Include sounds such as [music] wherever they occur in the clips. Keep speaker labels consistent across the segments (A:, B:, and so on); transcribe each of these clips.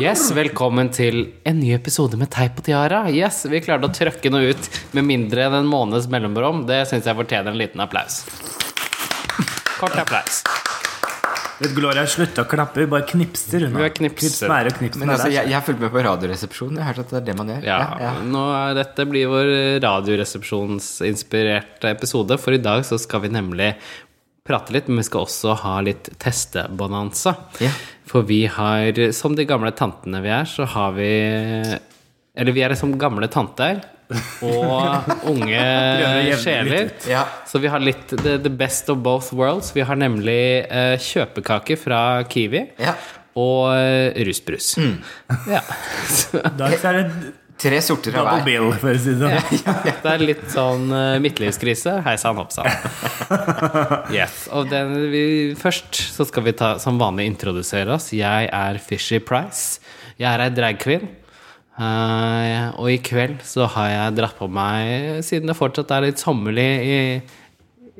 A: Yes, Velkommen til en ny episode med Teip og tiara. Yes, Vi klarte å trøkke noe ut med mindre enn en måneds mellomrom. Det syns jeg fortjener en liten applaus. Kort applaus.
B: Vet du, Gloria slutta å klappe, vi bare knipser unna.
A: Vi bare knipser.
B: Knipsnære og knipsnære.
C: Men altså, jeg, jeg har fulgt med på Radioresepsjonen. Jeg har hørt at det er det man gjør.
A: Ja,
C: Ja, ja.
A: Nå, dette blir vår radioresepsjonsinspirerte episode, for i dag så skal vi nemlig prate litt, men vi skal også ha litt testebonanza.
C: Ja.
A: For vi har, som de gamle tantene vi er, så har vi Eller vi er som gamle tanter og unge
B: å jevne
A: sjeler.
B: litt
C: Ja.
A: Så vi har litt the, the best of both worlds. Vi har nemlig eh, kjøpekake fra Kiwi
C: Ja.
A: og eh, rusbrus. Ja. [laughs] Så,
B: I dag så er det
C: Tre sorter av
B: double
C: hver.
B: bill, for å si [laughs] det sånn.
A: Det er litt sånn eh, midtlivskrise. Hei sann, hopp sann. Yes. Og den vi, først så skal vi ta, som vanlig introdusere oss. Jeg er Fishy Price. Jeg er ei dragqueen. Eh, og i kveld så har jeg dratt på meg, siden det fortsatt er litt sommerlig i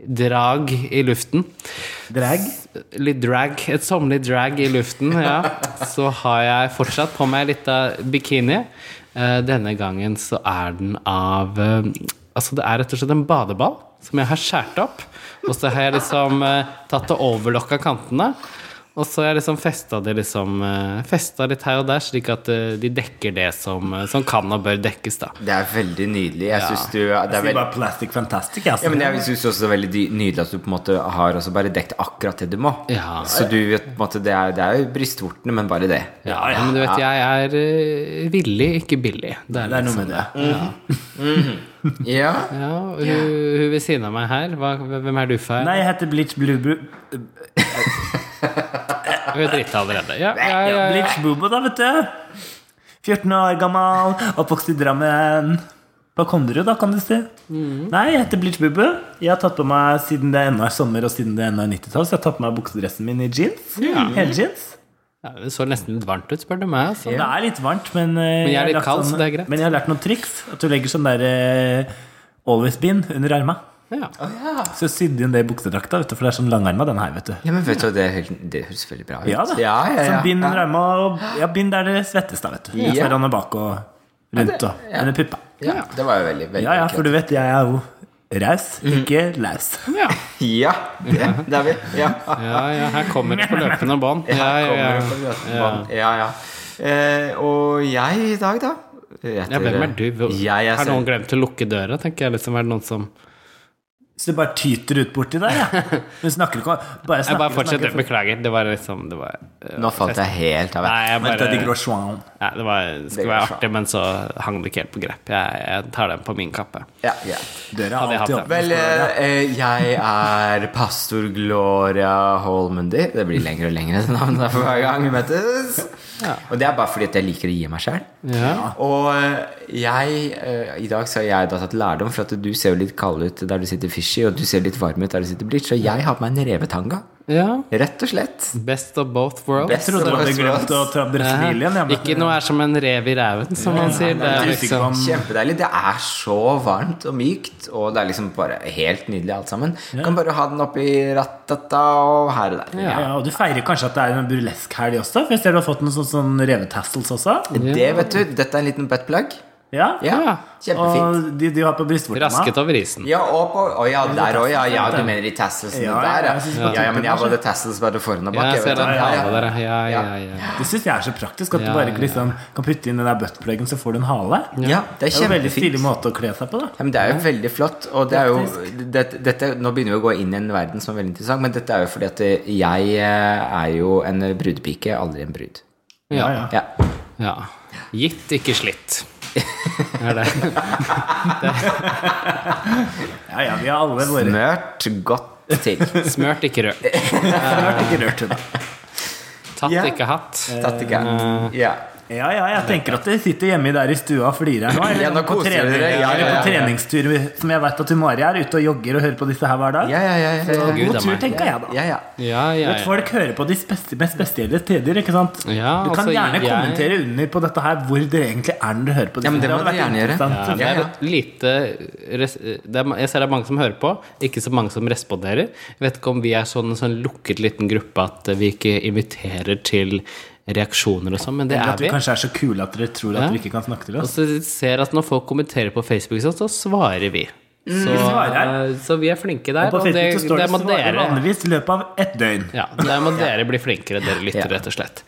A: drag i luften
B: Drag.
A: Litt drag, et sommerlig drag i luften, ja. Så har jeg fortsatt på meg litt av bikini. Eh, Denne gangen så er den av eh, Altså, det er rett og slett en badeball som jeg har skåret opp. Og så har jeg liksom eh, tatt og overlokka kantene. Og så har jeg liksom festa det liksom eh, Festa litt her og der, slik at eh, de dekker det som, eh, som kan og bør dekkes, da.
C: Det er veldig nydelig. Jeg syns du det er
B: Sier
C: veld...
B: bare Plastic Fantastic, altså.
C: ja, men jeg synes også det er veldig dy- nydelig at du på en måte har også bare dekt akkurat det du må.
A: Ja.
C: Så du vet på en måte Det er, det er jo brystvortene, men bare det.
A: Ja, men du vet, jeg er eh, villig, ikke billig. Det
B: Det er
A: litt
B: noe med det.
C: Mm. Ja.
A: Ja, og hun, hun ved siden av meg her, hva, hvem er du for?
B: Nei, jeg heter Bleach Blue Bru...
A: Hun er drita allerede. Ja, ja, ja, ja.
B: Bleach Bubo, da, vet du. 14 år gammel, oppvokst i Drammen. På Konderud, da, kan du si.
C: Mm.
B: Nei, jeg heter Bleach Bubo. Jeg har tatt på meg, siden det ennå er sommer, og siden det ennå er 90-tall, så jeg har tatt på meg buksedressen min i jeans. Heljeans.
A: Ja, det så nesten litt varmt ut, spør du meg. Altså.
B: Det er litt varmt, men eh,
A: jeg er
B: har
A: litt
B: lagt
A: kald,
B: sånn-
A: så det er greit.
B: Men jeg har lært noen triks. At du legger sånn der eh, always bind under arma.
A: Ja.
B: Så sydde inn det i buksedrakta, vet du, for det er sånn langarma, den her, vet du.
C: ja, men vet du hva, det, er helt- det høres veldig bra ut.
B: Ja da.
C: Ja, ja, ja.
B: Sånn bind
C: ja.
B: under arma, og ja, bind der det svettes, da, vet du.
C: Ja.
B: Foran og bak og rundt og under puppa.
C: ja, det var jo veldig, veldig
B: Ja ja, for
C: kult.
B: du vet, jeg er jo raus,
A: Mhm.
B: ikke laus.
A: Ja.
C: Ja, det, det er vi. Ja.
A: ja, ja, her kommer det på løpende bånd. Ja,
C: Her
A: ja,
C: kommer det på
A: ja.
C: løpebånd. Ja, ja. Eh, og jeg i dag, da?
A: ja, hvem er du? Hvor-
C: Jeg er
A: Har noen glemt å lukke døra, tenker jeg. Liksom, er det noen som
B: Så det bare tyter ut borti der,
A: [laughs]
B: ja. Hun snakker ikke om Bare
A: Jeg
B: snakker
A: bare fortsetter.
B: snakker-
A: Beklager. Det var liksom det var,
C: Nå falt jeg helt av.
A: Nei, jeg
B: Vent, da, de
A: bare
B: grå schwan.
A: Nei, det var, skulle være artig, men så hang det ikke helt på grep. Jeg, jeg tar den på min kappe.
C: Ja, ja.
B: Døra
A: Hadde
B: er
A: jeg
B: alltid
A: hatt
B: åpen.
C: Vel, eh, eh, jeg er pastor Gloria Holmundi. Det blir lengre og lengre det navnet for hver gang vi møtes. Og det er bare fordi at jeg liker å gi meg sjæl.
A: Ja.
C: Og eh, jeg eh, I dag så har jeg da tatt lærdom, for at du ser jo litt kald ut der du sitter fishy, og du ser litt varm ut der du sitter bleach, så jeg har på meg en revetanga.
A: ja.
C: Rett og slett.
A: Best of both worlds.
C: Best
B: Jeg trodde du hadde glemt å ta brøstmiljen.
A: Ja. Ikke noe er som en rev i ræven, som man sier. Det er liksom
B: Mm.
C: Kjempedeilig. Det er så varmt og mykt, og det er liksom bare helt nydelig alt sammen. Du kan bare ha den oppi rattata og her og der.
B: Ja. og Du feirer kanskje at det er en burlesk-helg også? For jeg ser du har fått noen sånn, sånn revetassels også.
C: Det vet du, Dette er en liten buttplug.
B: Ja,
C: Ja,
A: Ja.
C: Kjempefint.
B: Og de, de har på brystvortene.
A: rasket over isen.
C: Ja, og på Å ja, der òg, ja. ja. Du mener i tasselsene
B: Ja, ja,
C: der,
B: jeg synes
C: ja.
B: bare
C: Ja, ja, men jeg har
B: tuppen
C: både tassels både foran og
A: Ja,
C: bak.
A: jeg
C: jeg
A: ser
C: vet
A: den
C: det.
A: halen
C: ja,
A: der. Ja, ja,
C: Ja.
A: ja.
B: Det syns jeg er så praktisk. At
A: Ja,
B: du bare
A: ja,
B: liksom, kan putte inn den der buttpluggen, så får du en hale.
C: ja. ja, det
B: Det
C: er
B: er jo en veldig
C: kjempefint.
B: stilig måte å kle seg på, da.
C: Ja, men det er jo veldig flott, og det er jo dette, dette, Nå begynner vi å gå inn i en verden som er veldig interessant, men dette er jo fordi at jeg eh, er jo en brudepike, aldri en brud.
A: Ja,
B: Ja,
C: Ja.
A: ja. Gitt, ikke slitt. Er det.
B: ja, ja vi har alle våre
C: Smørt godt til.
A: Smørt, ikke rørt.
B: snart ikke rørt henne.
A: Tatt,
C: Ja.
A: ikke hatt.
C: Tatt i gang.
A: Eh,
C: Ja.
B: Ja, ja, jeg tenker at dere sitter hjemme der i stua og flirer her nå. Eller
C: Ja, nå
B: på,
C: koser
B: trening,
C: dere. Ja, ja,
B: eller
C: ja,
B: på
C: ja.
B: treningstur, som jeg veit at du Mari er, ute og jogger og hører på disse her hver dag.
C: Ja, ja, ja. ja, ja.
A: Gud,
B: God
A: det er
B: tur,
A: meg.
B: tenker jeg da.
C: ja, ja.
A: Ja, ja,
B: Vet,
A: ja.
B: folk hører på de spes- mest spesielle steder, ikke sant?
A: Ja,
B: du kan
A: altså,
B: gjerne
A: jeg-
B: kommentere under på dette her hvor dere egentlig er når dere hører på det.
C: Ja, men det må
B: hadde
C: dere
B: vært
C: gjerne gjøre.
B: interessant.
A: Ja, det er
C: Ja,
A: et lite res- det er, ma- Jeg ser det er mange som hører på, ikke så mange som responderer. Jeg vet ikke om vi er sånn, sånn lukket liten gruppe at vi ikke inviterer til reaksjoner og sånn, men det
B: Eller
A: er
B: at vi
A: vi.
B: kanskje er så kule at dere tror at
A: Ja.
B: dere ikke kan snakke til
A: Og
B: oss.
A: så ser at når folk kommenterer på Facebook, sånn, så svarer vi. Så,
B: Mm. svarer.
A: eh, så vi er flinke der.
B: Og på
A: Og det,
B: Facebook så står det
A: der må
B: 'svarer
A: dere
B: vanligvis' i løpet av ett døgn.
A: ja, der
B: [laughs]
A: må dere bli flinkere, dere lytter, rett og slett.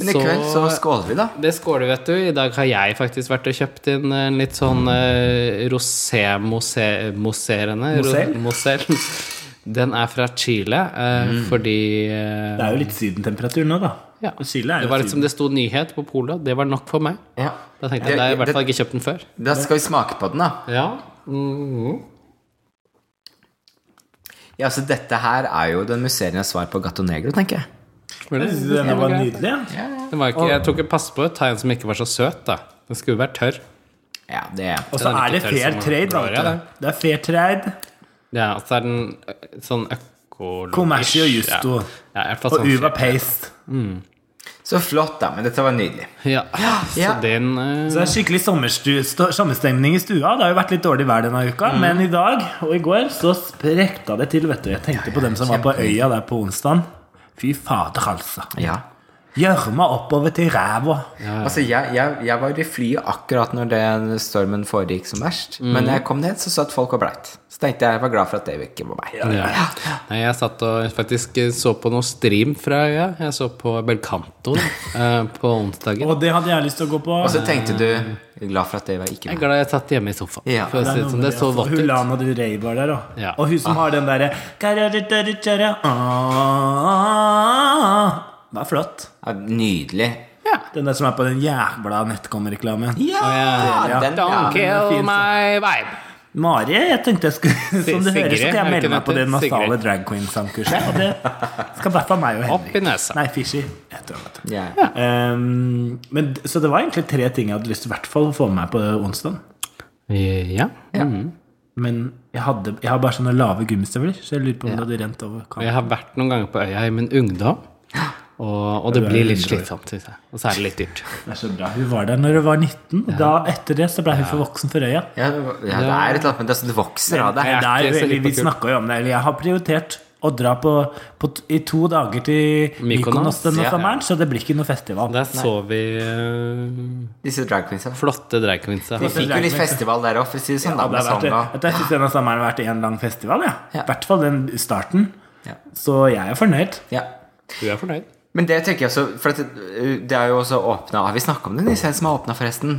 C: Men i kveld så skåler vi, da.
A: Det skåler, vet du. I dag har jeg faktisk vært og kjøpt inn en litt sånn eh, rosé-moserende
B: Moselle?
A: Den er fra Chile, eh,
B: Mm.
A: fordi eh,
B: Det er jo litt sydentemperatur nå, da.
A: ja.
B: Og Chile er
A: Det
B: jo
A: var litt som
B: syden.
A: det sto nyhet på polet. Det var nok for meg.
C: Ja.
A: Da tenkte jeg, da har jeg i hvert fall ikke kjøpt den før.
C: Da skal vi smake på den, da.
A: Ja.
C: Ja, så dette her er jo den musserende svar på Gato Negro, tenker jeg.
B: Jeg synes denne var nydelig. ja.
A: Den var ikke, jeg tok ikke passe på å ta en som ikke var så søt, da. Den skulle jo være tørr.
C: Ja, det
B: Og så
A: Den er
B: er det
A: ikke tørr
B: fair
A: som
B: trade. da,
A: blåre,
B: vet du. Det er fair trade.
A: Ja, og så er den ø, sånn økologisk
B: Kommersi og justo.
A: Ja. Ja, i hvert fall
B: Og
A: sånn
B: Uva Paste.
C: Så flott, da. Men dette var nydelig.
A: Ja, så
C: Ja.
A: den eh, ø,
B: Så det er skikkelig sommerstu- sto- sommerstemning i stua. Det har jo vært litt dårlig vær denne uka,
A: Mm.
B: men i dag og i går så sprekta det til, vet du. Jeg tenkte på dem som var på øya der på onsdag. Fy fader, altså.
C: Ja.
B: Gjørma oppover til ræva.
C: Altså, jeg, jeg, jeg var i flyet akkurat når den stormen foregikk som verst.
A: Mm.
C: Men når jeg kom ned, så satt folk og bleit. Så tenkte jeg jeg var glad for at det ikke var meg.
A: Ja. Nei, jeg satt og faktisk eh, så på noe stream fra øya. Jeg så på Belcanto eh, på onsdagen.
B: Og det hadde jeg lyst til å gå på.
C: Og så tenkte du jeg er glad for at det var ikke
A: Jeg er
C: meg.
A: glad jeg satt hjemme i sofaen.
C: Ja.
A: For å si det sånn, det så vått ut.
B: Hulana du Rey var der, og,
A: Ja.
B: og hun som har den derre Ah. Det er flott.
C: Ja, nydelig.
B: Den der som er på den jævla nettkomreklamen.
C: Ja!
A: Ja.
C: Den,
A: Don't
C: ja.
B: er
A: kill
B: fin, så.
A: my vibe.
B: Mari, jeg tenkte jeg skulle Som du
A: Sigrid,
B: hører, så skal
A: er det
B: jeg
A: ikke
B: melde meg
A: det
B: på det
A: til?
B: nasale
A: Sigrid.
B: drag queen-sangkurset. Og det skal i hvert fall meg og
A: Opp i
B: Henrik.
A: nesa.
B: Nei, Fishy. Jeg tror, vet du.
C: Ja.
B: Ehm, men, så det var egentlig tre ting jeg hadde lyst til i hvert fall å få med meg på onsdag.
A: Ja. Mhm.
B: Men jeg, hadde, jeg har bare sånne lave gummistøvler, så jeg lurer på om det hadde rent over.
A: Jeg har vært noen ganger på øya i min ungdom, og, og det blir litt slitsomt, synes jeg. Og så er det litt dyrt.
B: Det er så bra. Hun var der når hun var 19. Da, etter det så ble hun for voksen for øya.
C: Ja, det var- ja, det er et eller annet, men det, er sånn det vokser av
B: Nei, det
C: deg.
B: er
A: ikke så
B: veldig- vi
A: hypokult.
B: snakka jo om det. eller Jeg har prioritert å dra på, på t- i to dager til Mykonos
A: Mykonos,
B: denne
C: ja.
B: sommeren, så det blir ikke noe festival.
A: Der så vi eh,
C: Disse drag queensa.
A: flotte drag queensa.
C: Vi fikk jo litt festival der òg, for å si det sånn. da,
B: Ja, det
C: med
B: har vært,
C: samba.
B: jeg jeg synes denne sommeren har vært en lang festival, ja. I
C: Ja.
B: hvert fall den starten.
C: Ja.
B: Så jeg er fornøyd.
C: Ja.
A: Du er fornøyd?
C: Men det tenker jeg også For at det, det er jo også åpna Har vi snakka om den i scenen som har åpna, forresten?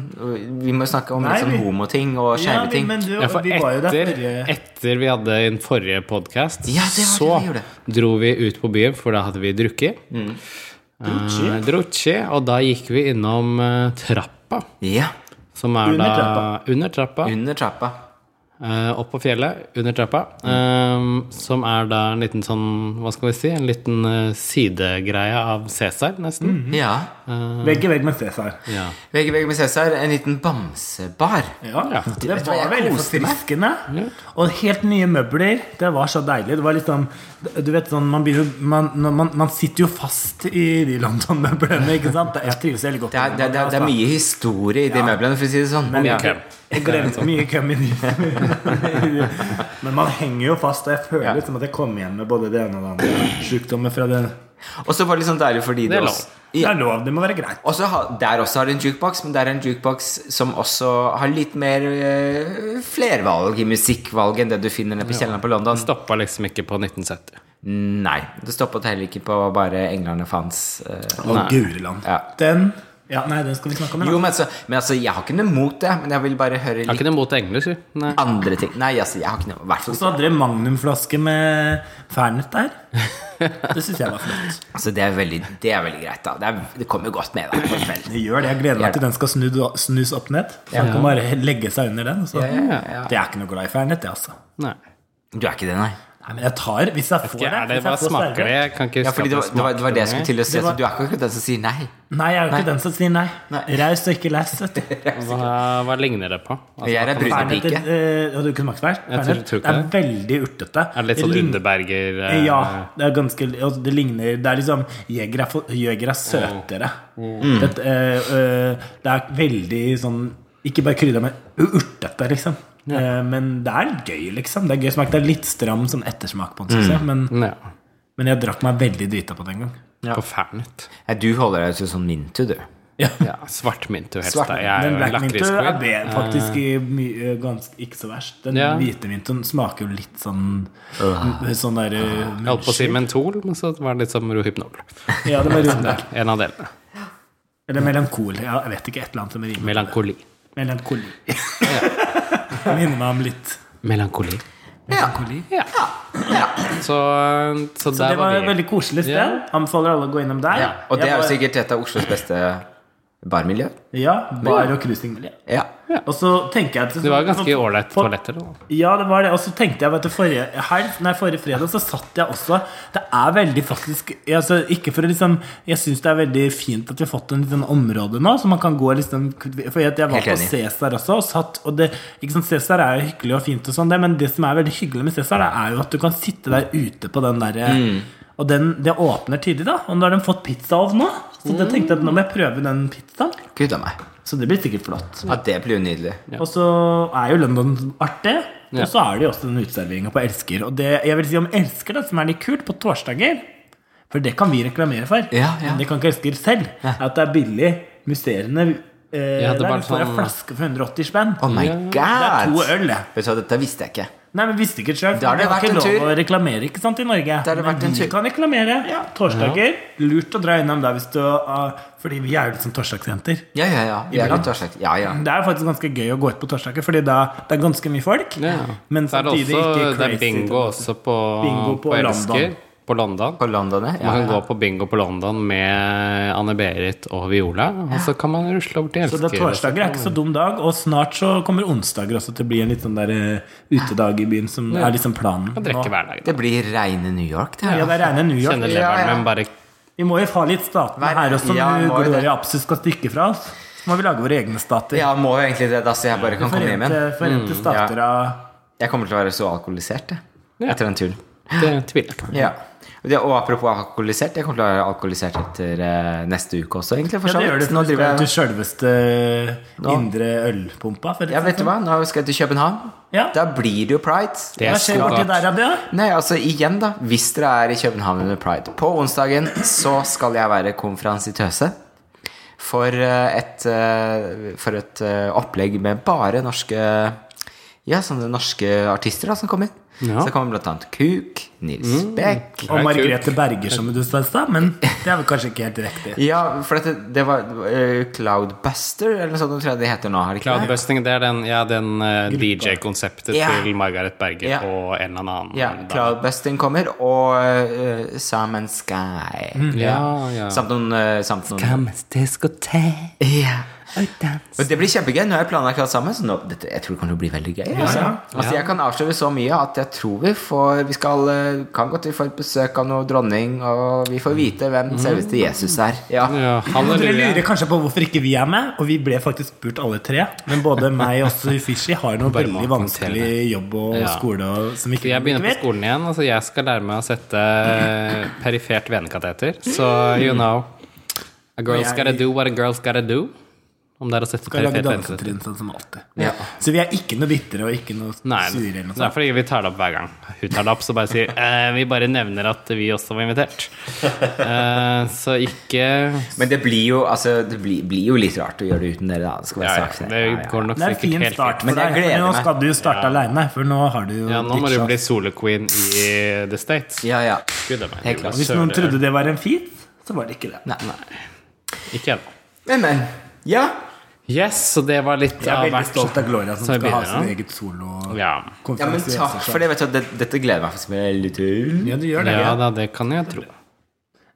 C: Vi må jo snakke om
B: Nei,
C: litt sånn
B: vi-
C: homoting og skeive ting.
B: men du,
A: Ja, for
B: vi var jo der
A: etter,
B: forrige
A: etter vi hadde en forrige podkast,
C: Ja, det
A: så
C: var det vi gjorde. Mm.
A: dro vi ut på byen, for da hadde vi drukket. Eh, Drukket. Og da gikk vi innom eh, trappa,
C: Ja.
A: som er
B: Under
A: da under trappa,
C: Under trappa.
A: eh, opp på fjellet, under trappa, eh, som er da en liten sånn, hva skal vi si, en liten eh, sidegreie av Cæsar, nesten.
C: Ja.
B: Vegg i vegg med Cæsar.
A: Ja.
C: Vegg i vegg med Cæsar, en liten bamsebar.
B: Ja, det
C: vet du hva,
B: var
C: jeg
B: veldig
C: koste meg.
B: forfriskende. Og helt nye møbler. Det var så deilig. Det var litt sånn Du vet sånn Man, blir, jo- man, når man, man sitter jo fast i de London-møblene, ikke sant? Jeg trives veldig godt altså.
C: Det er, det, er- det, er- det er mye historie i de møblene, for å si det sånn.
B: Men
C: ja.
A: køm.
B: Jeg glemte mye køm i [laughs] de- Men man henger jo fast, og jeg føler litt som at jeg kommer igjen med både det ene og det andre. Sjukdommer fra det
C: Og så var det litt sånn deilig fordi
A: Det
C: det
A: er
C: også
B: Det
C: ja.
B: er lov, det må være greit.
C: Og så har- Der også har de en jukebox, men det er en jukebox som også har litt mer eh, flervalg i musikkvalg enn det du finner nede på kjelleren på London.
A: Stoppa liksom ikke på 1970.
C: Nei. Det stoppet heller ikke på bare englene fans. eh,
B: Og Gureland.
C: Ja.
B: Den ja, Nei, den skal vi snakke om.
C: Jo,
B: Ja.
C: men altså, men altså Jeg har ikke noe mot det, men jeg vil bare høre
A: Jeg har
C: litt
A: ikke noe mot engler, si. Nei.
C: andre ting. Nei, altså, jeg har ikke noe i hvert
B: Så
C: fall ikke.
B: hadde dere magnumflaske med Fernet der. Det syns jeg var flott.
C: altså, det, er veldig, det er veldig greit, da. Det, er, det kommer jo godt med. Da, på kvelden.
B: Det gjør det. Jeg gleder meg til den skal snu, snus opp ned. Så man kan bare legge seg under den. Så. Det er ikke noe glad i Fernet, det, altså.
A: Nei.
C: Du er ikke det, nei?
B: Nei, men jeg tar hvis jeg får
A: Ikke er det,
B: hvis jeg
A: hva
B: får
A: smaker
B: servert.
A: det? Jeg kan ikke
C: Ja,
A: huske
C: fordi
A: at
C: det var,
A: det
C: det var, det var det jeg
A: smakte
C: skulle til å si.
B: Det var-
C: Så du er ikke akkurat den som sier nei?
B: Nei, jeg er jo ikke den som sier nei.
C: Nei.
B: Raust og ikke laust, [laughs] vet du.
A: noe. Hva, hva ligner det på? Altså,
C: Jeg er
B: Fernet
C: brunepike.
B: eh, Hadde du ikke smakt fernet?
A: Jeg tror- tror ikke
B: det er veldig urtete.
A: er det litt sånn
B: lign-
A: Underberger eh,
B: Ja. Det er ganske og Det ligner Det er liksom Jeger er, for- jeger er søtere.
A: Mm.
B: Dette, eh, eh, det er veldig sånn Ikke bare krydder, men urtete, liksom. Eh, men det er gøy, liksom. Det er gøy
A: Mm.
B: smak. Det er litt stram sånn ettersmak på den, synes jeg. Men,
A: Ja.
B: men jeg drakk meg veldig drita på den gang.
A: Forferdelig.
C: Nei, du holder deg til sånn Mintu, du.
A: Ja, svart mintu helst.
C: Svart-
A: da. Jeg
B: Den
A: er
B: black
A: jo
B: mintu er
A: lakrisquid.
B: be- faktisk i mye, ganske, ikke så verst. Den
A: Ja.
B: hvite mintun smaker jo litt sånn
C: Øh.
B: Sånn derre
A: Jeg holdt på å si mentol, men så var det litt som Rohypnol.
B: [laughs] Ja, det var rundt
A: [laughs]
B: der.
A: En av delene.
B: Eller melankol. Ja, jeg vet ikke. Et eller annet som rimer.
C: [laughs]
A: Melankoli.
B: Melankoli. Minner meg om litt
A: Melankoli.
B: melankoli.
A: Ja. Så, så,
B: Så det
A: der
B: var
A: var
B: et
A: vi.
B: veldig koselig sted.
A: Ja.
B: Anbefaler alle å gå innom der.
C: Ja. Og det
B: Jeg
C: er jo
B: var-
C: sikkert et av Oslos beste barmiljø.
B: Ja, bare og cruisingmiljø.
C: Ja.
B: Og så tenker jeg at
A: Det var ganske ålreite
B: For-
A: toaletter. Da.
B: Ja, det var det. Og så tenkte jeg, vet du, forrige helg, nei, forrige fredag så satt jeg også Det er veldig faktisk altså, Ikke for å liksom Jeg syns det er veldig fint at vi har fått en liten område nå, så man kan gå liksom For jeg, jeg var
C: Helt
B: på
C: enig.
B: Cæsar også, og satt og det, ikke sant, Cæsar er jo hyggelig og fint og sånn, det, men det som er veldig hyggelig med Cæsar, det er jo at du kan sitte der ute på den derre Og den, det åpner tidlig, da. Og nå har de fått pizzaovn nå, så det tenkte jeg at nå må jeg prøve den pizzaen.
C: Gud a meg.
B: Mm. Så det blir sikkert flott.
C: Ja, det blir jo nydelig.
B: Og så er jo London artig.
A: Ja.
B: Og så er det jo også den uteserveringa på Elsker. Og det jeg vil si om Elsker, da, som er litt kult, på torsdager For det kan vi reklamere for.
C: Ja, ja.
B: Men det kan ikke Elsker selv. er At det er billig. Museene eh,
A: Ja, det er
B: der
A: bare
B: du får en
A: sånn-
B: flaske for 180 spenn.
C: Oh my
A: Ja.
B: Det er
C: god!
B: to øl, det.
C: Vet du hva, dette visste jeg ikke.
B: Nei, men visste ikke sjøl.
C: Da har det vært en
B: ikke
C: tur.
B: lov å reklamere ikke sant, i Norge.
C: Da har det
B: Men
C: vært en
B: vi
C: tur.
B: kan reklamere. Torsdager. Lurt å dra innom der hvis du ah, Fordi vi er jo litt sånn torsdagsjenter.
C: Ja, ja, ja. Vi er
B: Iblant.
C: litt årsak. Ja, ja.
B: Det er faktisk ganske gøy å gå ut på torsdager, fordi da det er ganske mye folk.
A: Ja.
B: Men
A: Så er det
B: samtidig
A: også
B: ikke
A: det
B: crazy.
A: er bingo også på,
B: Bingo på
A: på, Elsker.
B: London.
A: På London.
C: På London, ja.
A: Man
C: ja.
A: kan gå på bingo på London med Anne-Berit og Viola, og så kan man rusle over til
B: Så det
A: Elsker.
B: er torsdager er ikke så dum dag, og snart så kommer onsdager også til å bli en litt sånn der eh, utedag i byen, som er liksom planen.
A: Og
B: nå.
A: drikke hver dag. da.
C: Det blir reine New York, det.
B: Ja, det regner New York.
A: Kjenne
C: Ja, ja.
A: leveren min bare
B: Vi må jo ha litt statene
C: Nei,
B: her også,
C: ja,
B: når
C: må jo det.
B: Gloria Absus skal stikke fra oss. Så må vi lage våre egne stater.
C: Ja, må jo egentlig det, da, så jeg bare kan komme hjem
B: Forente,
C: igjen. Mm,
B: forente stater av
C: Jeg kommer til å være så alkoholisert, jeg.
A: Ja.
C: Etter den turen.
A: Det tviler jeg på.
C: Ja. Og, det, og apropos alkoholisert, jeg kommer til å være alkoholisert etter eh, neste uke også, egentlig. For
B: Ja,
C: så
B: det
C: vidt.
B: gjør du.
C: Nå
B: for Du skal
C: driver
B: til
C: jeg
B: sjølveste
C: Nå.
B: indre ølpumpa. for å
C: Ja,
B: si
C: vet du
B: sånn.
C: hva, nå skal jeg til København.
B: Ja.
C: Da blir det jo pride.
A: Det er
B: Hva skjer
A: så
B: borti
A: godt.
B: der, Abia?
C: Nei, altså igjen, da. Hvis dere er i København under pride På onsdagen så skal jeg være konferansitøse for eh, et, eh, for et eh, opplegg med bare norske Ja, sånne norske artister da som kommer.
A: Ja. Mm.
C: Så det kommer blant annet Kuk, Nils
A: Det er
B: Og
C: Beck
A: kult.
B: Margrethe Berger, som du sa i stad, men det er vel kanskje ikke helt riktig.
C: Ja, for dette, det var eh, Cloudbuster, eller noe sånt tror jeg det heter nå. Har det ikke det?
A: Cloudbusting, det er den, ja, den eh, DJ-konseptet
C: Ja.
A: til Margaret Berger
C: Ja.
A: og en eller annen.
C: Ja,
A: dame.
C: Cloudbusting kommer, og eh, Sam and Sky.
A: Ja, Mm. ja.
C: Samt noen, eh, samt noen Ja. Og det blir kjempegøy. Nå har jeg planlagt alt sammen, så nå, dette, jeg tror det kommer til å bli veldig gøy. Altså. Altså, jeg kan avsløre så mye at jeg tror vi får Vi skal, eh, kan godt vi får et besøk av noe dronning, og vi får vite hvem selveste Jesus er. Ja.
A: Mm. Ja,
B: Og Dere
A: halleluja.
B: lurer kanskje på hvorfor ikke vi er med, og vi ble faktisk spurt alle tre. Men både meg og også Fishy har noe
A: Bare må
B: veldig vanskelig jobb og
A: Ja.
B: skole og, som vi ikke
A: Jeg begynner på
B: vet.
A: skolen igjen. Altså jeg skal lære meg å sette eh, perifert venekateter. Så you
B: Mm.
A: know A girl's gotta do what a girl's gotta do. Om det er å sette
B: Skal lage
A: perifert venekateter.
B: dansetrinn sånn som alltid.
C: Ja.
B: Så vi er ikke noe bitre og ikke noe
A: Nei,
B: sure
A: det
B: eller noe
A: er
B: sånt.
A: fordi vi tar det opp hver gang. Hun tar det opp, så bare
B: [laughs]
A: sier eh, Vi bare nevner at vi også var invitert. Eh, så ikke
C: Men det blir jo altså, Det blir, blir jo litt rart å gjøre det uten dere, da. Det skal
A: ja,
C: være
A: ja,
C: sagt.
A: Det går nok
B: Det er en
A: sikkert
B: fin
A: helt
B: start
A: fint.
B: for
C: Men jeg
B: deg, for
C: gleder
B: nå
C: meg.
B: skal du starte alene aleine, for nå har du jo
A: Ja, nå må
B: ditt
A: du
B: show.
A: bli soloqueen i The States.
C: Ja, ja.
A: Gud, det er meg.
C: Helt klart.
B: Hvis noen trodde det var en feat, så var det ikke det.
C: Nei, nei.
A: Ikke ennå.
C: Men, men. Ja.
A: Yes, så det var litt
B: Jeg
A: av
B: er veldig
A: hvert.
B: stolt av Gloria som
A: Så jeg
B: skal ha
A: begynner,
B: sin
A: ja.
B: eget solo.
A: Ja.
C: ja, men takk for det. Vet du, hva, det, dette gleder jeg meg faktisk veldig til.
B: Ja, du gjør det.
A: ja da, det kan jeg tro.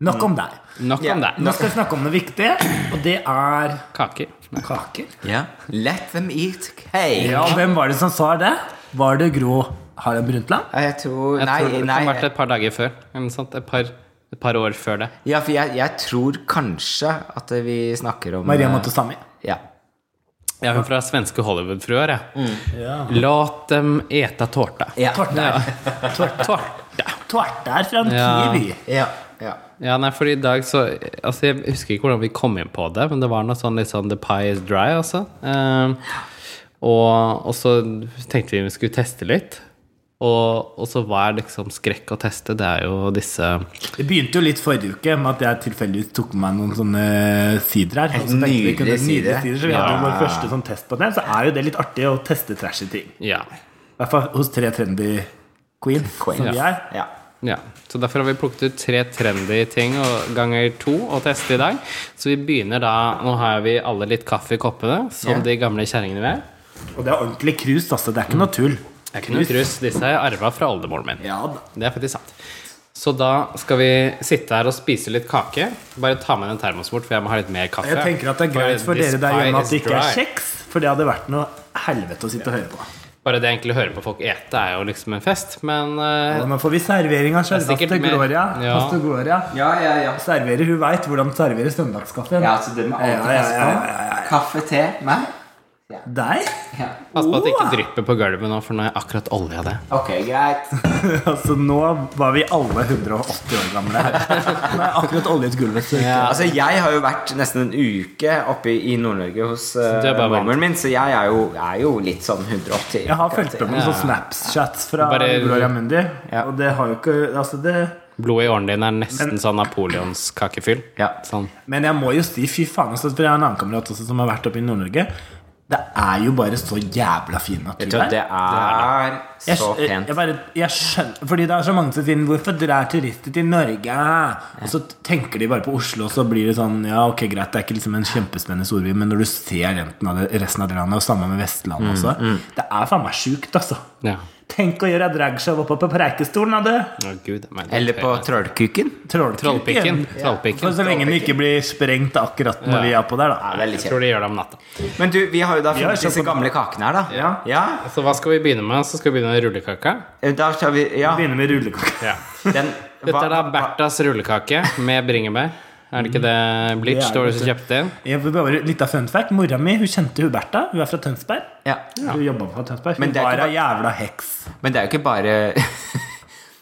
B: Nok om deg.
A: Nok om
C: Ja.
A: det.
B: Nå skal vi snakke om noe viktig, og det er
A: Kaker.
B: kaker.
C: Ja. Let them eat cake.
B: Ja, Hvem var det som sa det? Var det Gro Harlem Brundtland?
C: Jeg tror
A: Jeg
C: Nei,
A: tror det
C: nei.
A: kan vært et par dager før. eller noe sånt. Et par, et par år før det.
C: Ja, for jeg, jeg tror kanskje at vi snakker om
B: Maria
C: eh,
B: Montazami.
C: Ja.
A: Jeg er fra svenske Hollywood-fruer, jeg.
B: Mm. Ja.
A: Låt dem ete tårta.
C: Ja.
B: Tvartær.
A: [laughs] Tårta.
B: Tvartær fra en
A: Ja.
B: kiwi.
C: Ja. ja.
A: Ja, nei, for i dag så Altså, jeg husker ikke hvordan vi kom inn på det, men det var noe sånn litt sånn The pie is dry, Ehm, altså. Eh, og, og så tenkte vi vi skulle teste litt. Og, og så hva er liksom skrekk å teste? Det er jo disse
B: Det begynte jo litt forrige uke med at jeg tilfeldigvis tok med meg noen sånne sider her. Og så tenkte vi kunne-
C: Nydelige sider.
B: nydelige sider. Så vi hadde jo vår første sånn test på det. Så er jo det litt artig å teste trashy ting.
A: Ja.
B: I hvert fall hos tre trendy queens, som vi er.
C: Ja.
A: ja. Så derfor har vi plukket ut tre trendy ting og ganger to å teste i dag. Så vi begynner da Nå har vi alle litt kaffe i koppene, som
C: Ja.
A: de gamle kjerringene vi er.
B: Og det er ordentlig krus, altså. Det er ikke noe tull.
A: Det er ikke noe krus. Disse har jeg arva fra oldemoren min.
B: Ja da.
A: Det er faktisk sant. Så da skal vi sitte her og spise litt kake. Bare ta med en termos bort, for jeg må ha litt mer kaffe.
B: Jeg tenker at det er greit for
A: this
B: dere der
A: pie
B: hjemme
A: is
B: at det ikke er
A: dry.
B: kjeks, for det hadde vært noe helvete å sitte og høre på.
A: Bare det egentlig å høre på folk ete er jo liksom en fest, men eh,
B: Og nå får vi servering av
A: sikkert
B: selveste
A: mer-
B: Gloria.
A: Ja.
B: Pastor Gloria.
C: Ja, ja, ja.
B: Serverer, Hun veit hvordan servere søndagskaffen.
C: Ja, altså det med alt
B: Ja, ja, ja, ja, ja,
C: Kaffe, te, meg?
B: Deg? [laughs]
C: Ja.
A: pass på at det ikke
B: Åh!
A: drypper på gulvet nå, for nå har jeg akkurat olja det.
C: Ok,
B: [laughs]
C: greit.
B: Altså, nå var vi alle 180 år gamle her. Nå er akkurat oljet gulvet. så-
C: Ja, altså Jeg har jo vært nesten en uke oppe i Nord-Norge hos
A: du er
C: uh,
A: bare vant.
C: mormoren min, så jeg er jo, er jo litt sånn 180.
B: Jeg har fulgt med på
A: Ja.
B: sånne Snapchats fra
A: Bare-
B: Gloria Mundi,
C: Ja.
B: og det har jo ikke Altså, det
A: Blodet i årene dine er nesten sånn napoleonskakefyll.
C: Ja.
A: Sånn.
B: Men jeg må jo si, fy faen, altså, for jeg har en annen kamerat også som har vært oppe i Nord-Norge. Det er jo bare så jævla fin
C: Vet
B: natur
C: du hva, det er
B: Jeg,
C: så
B: skj-
C: pent.
B: jeg, bare, jeg skjønner Fordi det er så mange som sier 'Hvorfor drar turister til Norge?' Og så tenker de bare på Oslo, og så blir det sånn Ja, ok, greit, det er ikke liksom en kjempespennende storby, men når du ser renten av det, resten av det landet, og samme med
C: Mm,
B: Vestlandet også Det er faen meg sjukt, altså.
A: Ja.
B: Tenk å gjøre dragshow oppe på Preikestolen, da, du!
A: Å, Gud, jeg mener-
C: Eller på trollkuken.
A: Trollpikken.
B: Trollpikken.
A: Trollpikken.
B: For så lenge den ikke blir sprengt akkurat når
A: Ja.
B: vi er på der, da.
C: Ja, veldig
A: Jeg
C: kjent.
A: tror de gjør det om natta.
C: Men du, vi har jo da
B: har
C: funnet
B: kjøpt
C: disse
B: på-
C: gamle kakene her, da.
B: Ja.
A: Så hva skal vi begynne med? Så skal vi begynne med rullekaka.
C: Eh, Da tar vi Ja.
B: Begynner med rullekake.
A: Ja.
C: Den,
A: Dette er da
C: hva-
A: Berthas rullekake med bringebær. Er det ikke det Blitz
B: Mm. Det er
A: det var
B: godt,
A: du som kjøpte inn?
B: Jeg vil bare Litt av fun fact. Mora mi hun kjente hun Bertha. Hun er fra Tønsberg.
C: ja.
B: Hun jobbet på Tønsberg.
C: Men
B: Hun
C: det er
B: var
C: ikke
B: ei jævla heks.
C: Men det er jo ikke bare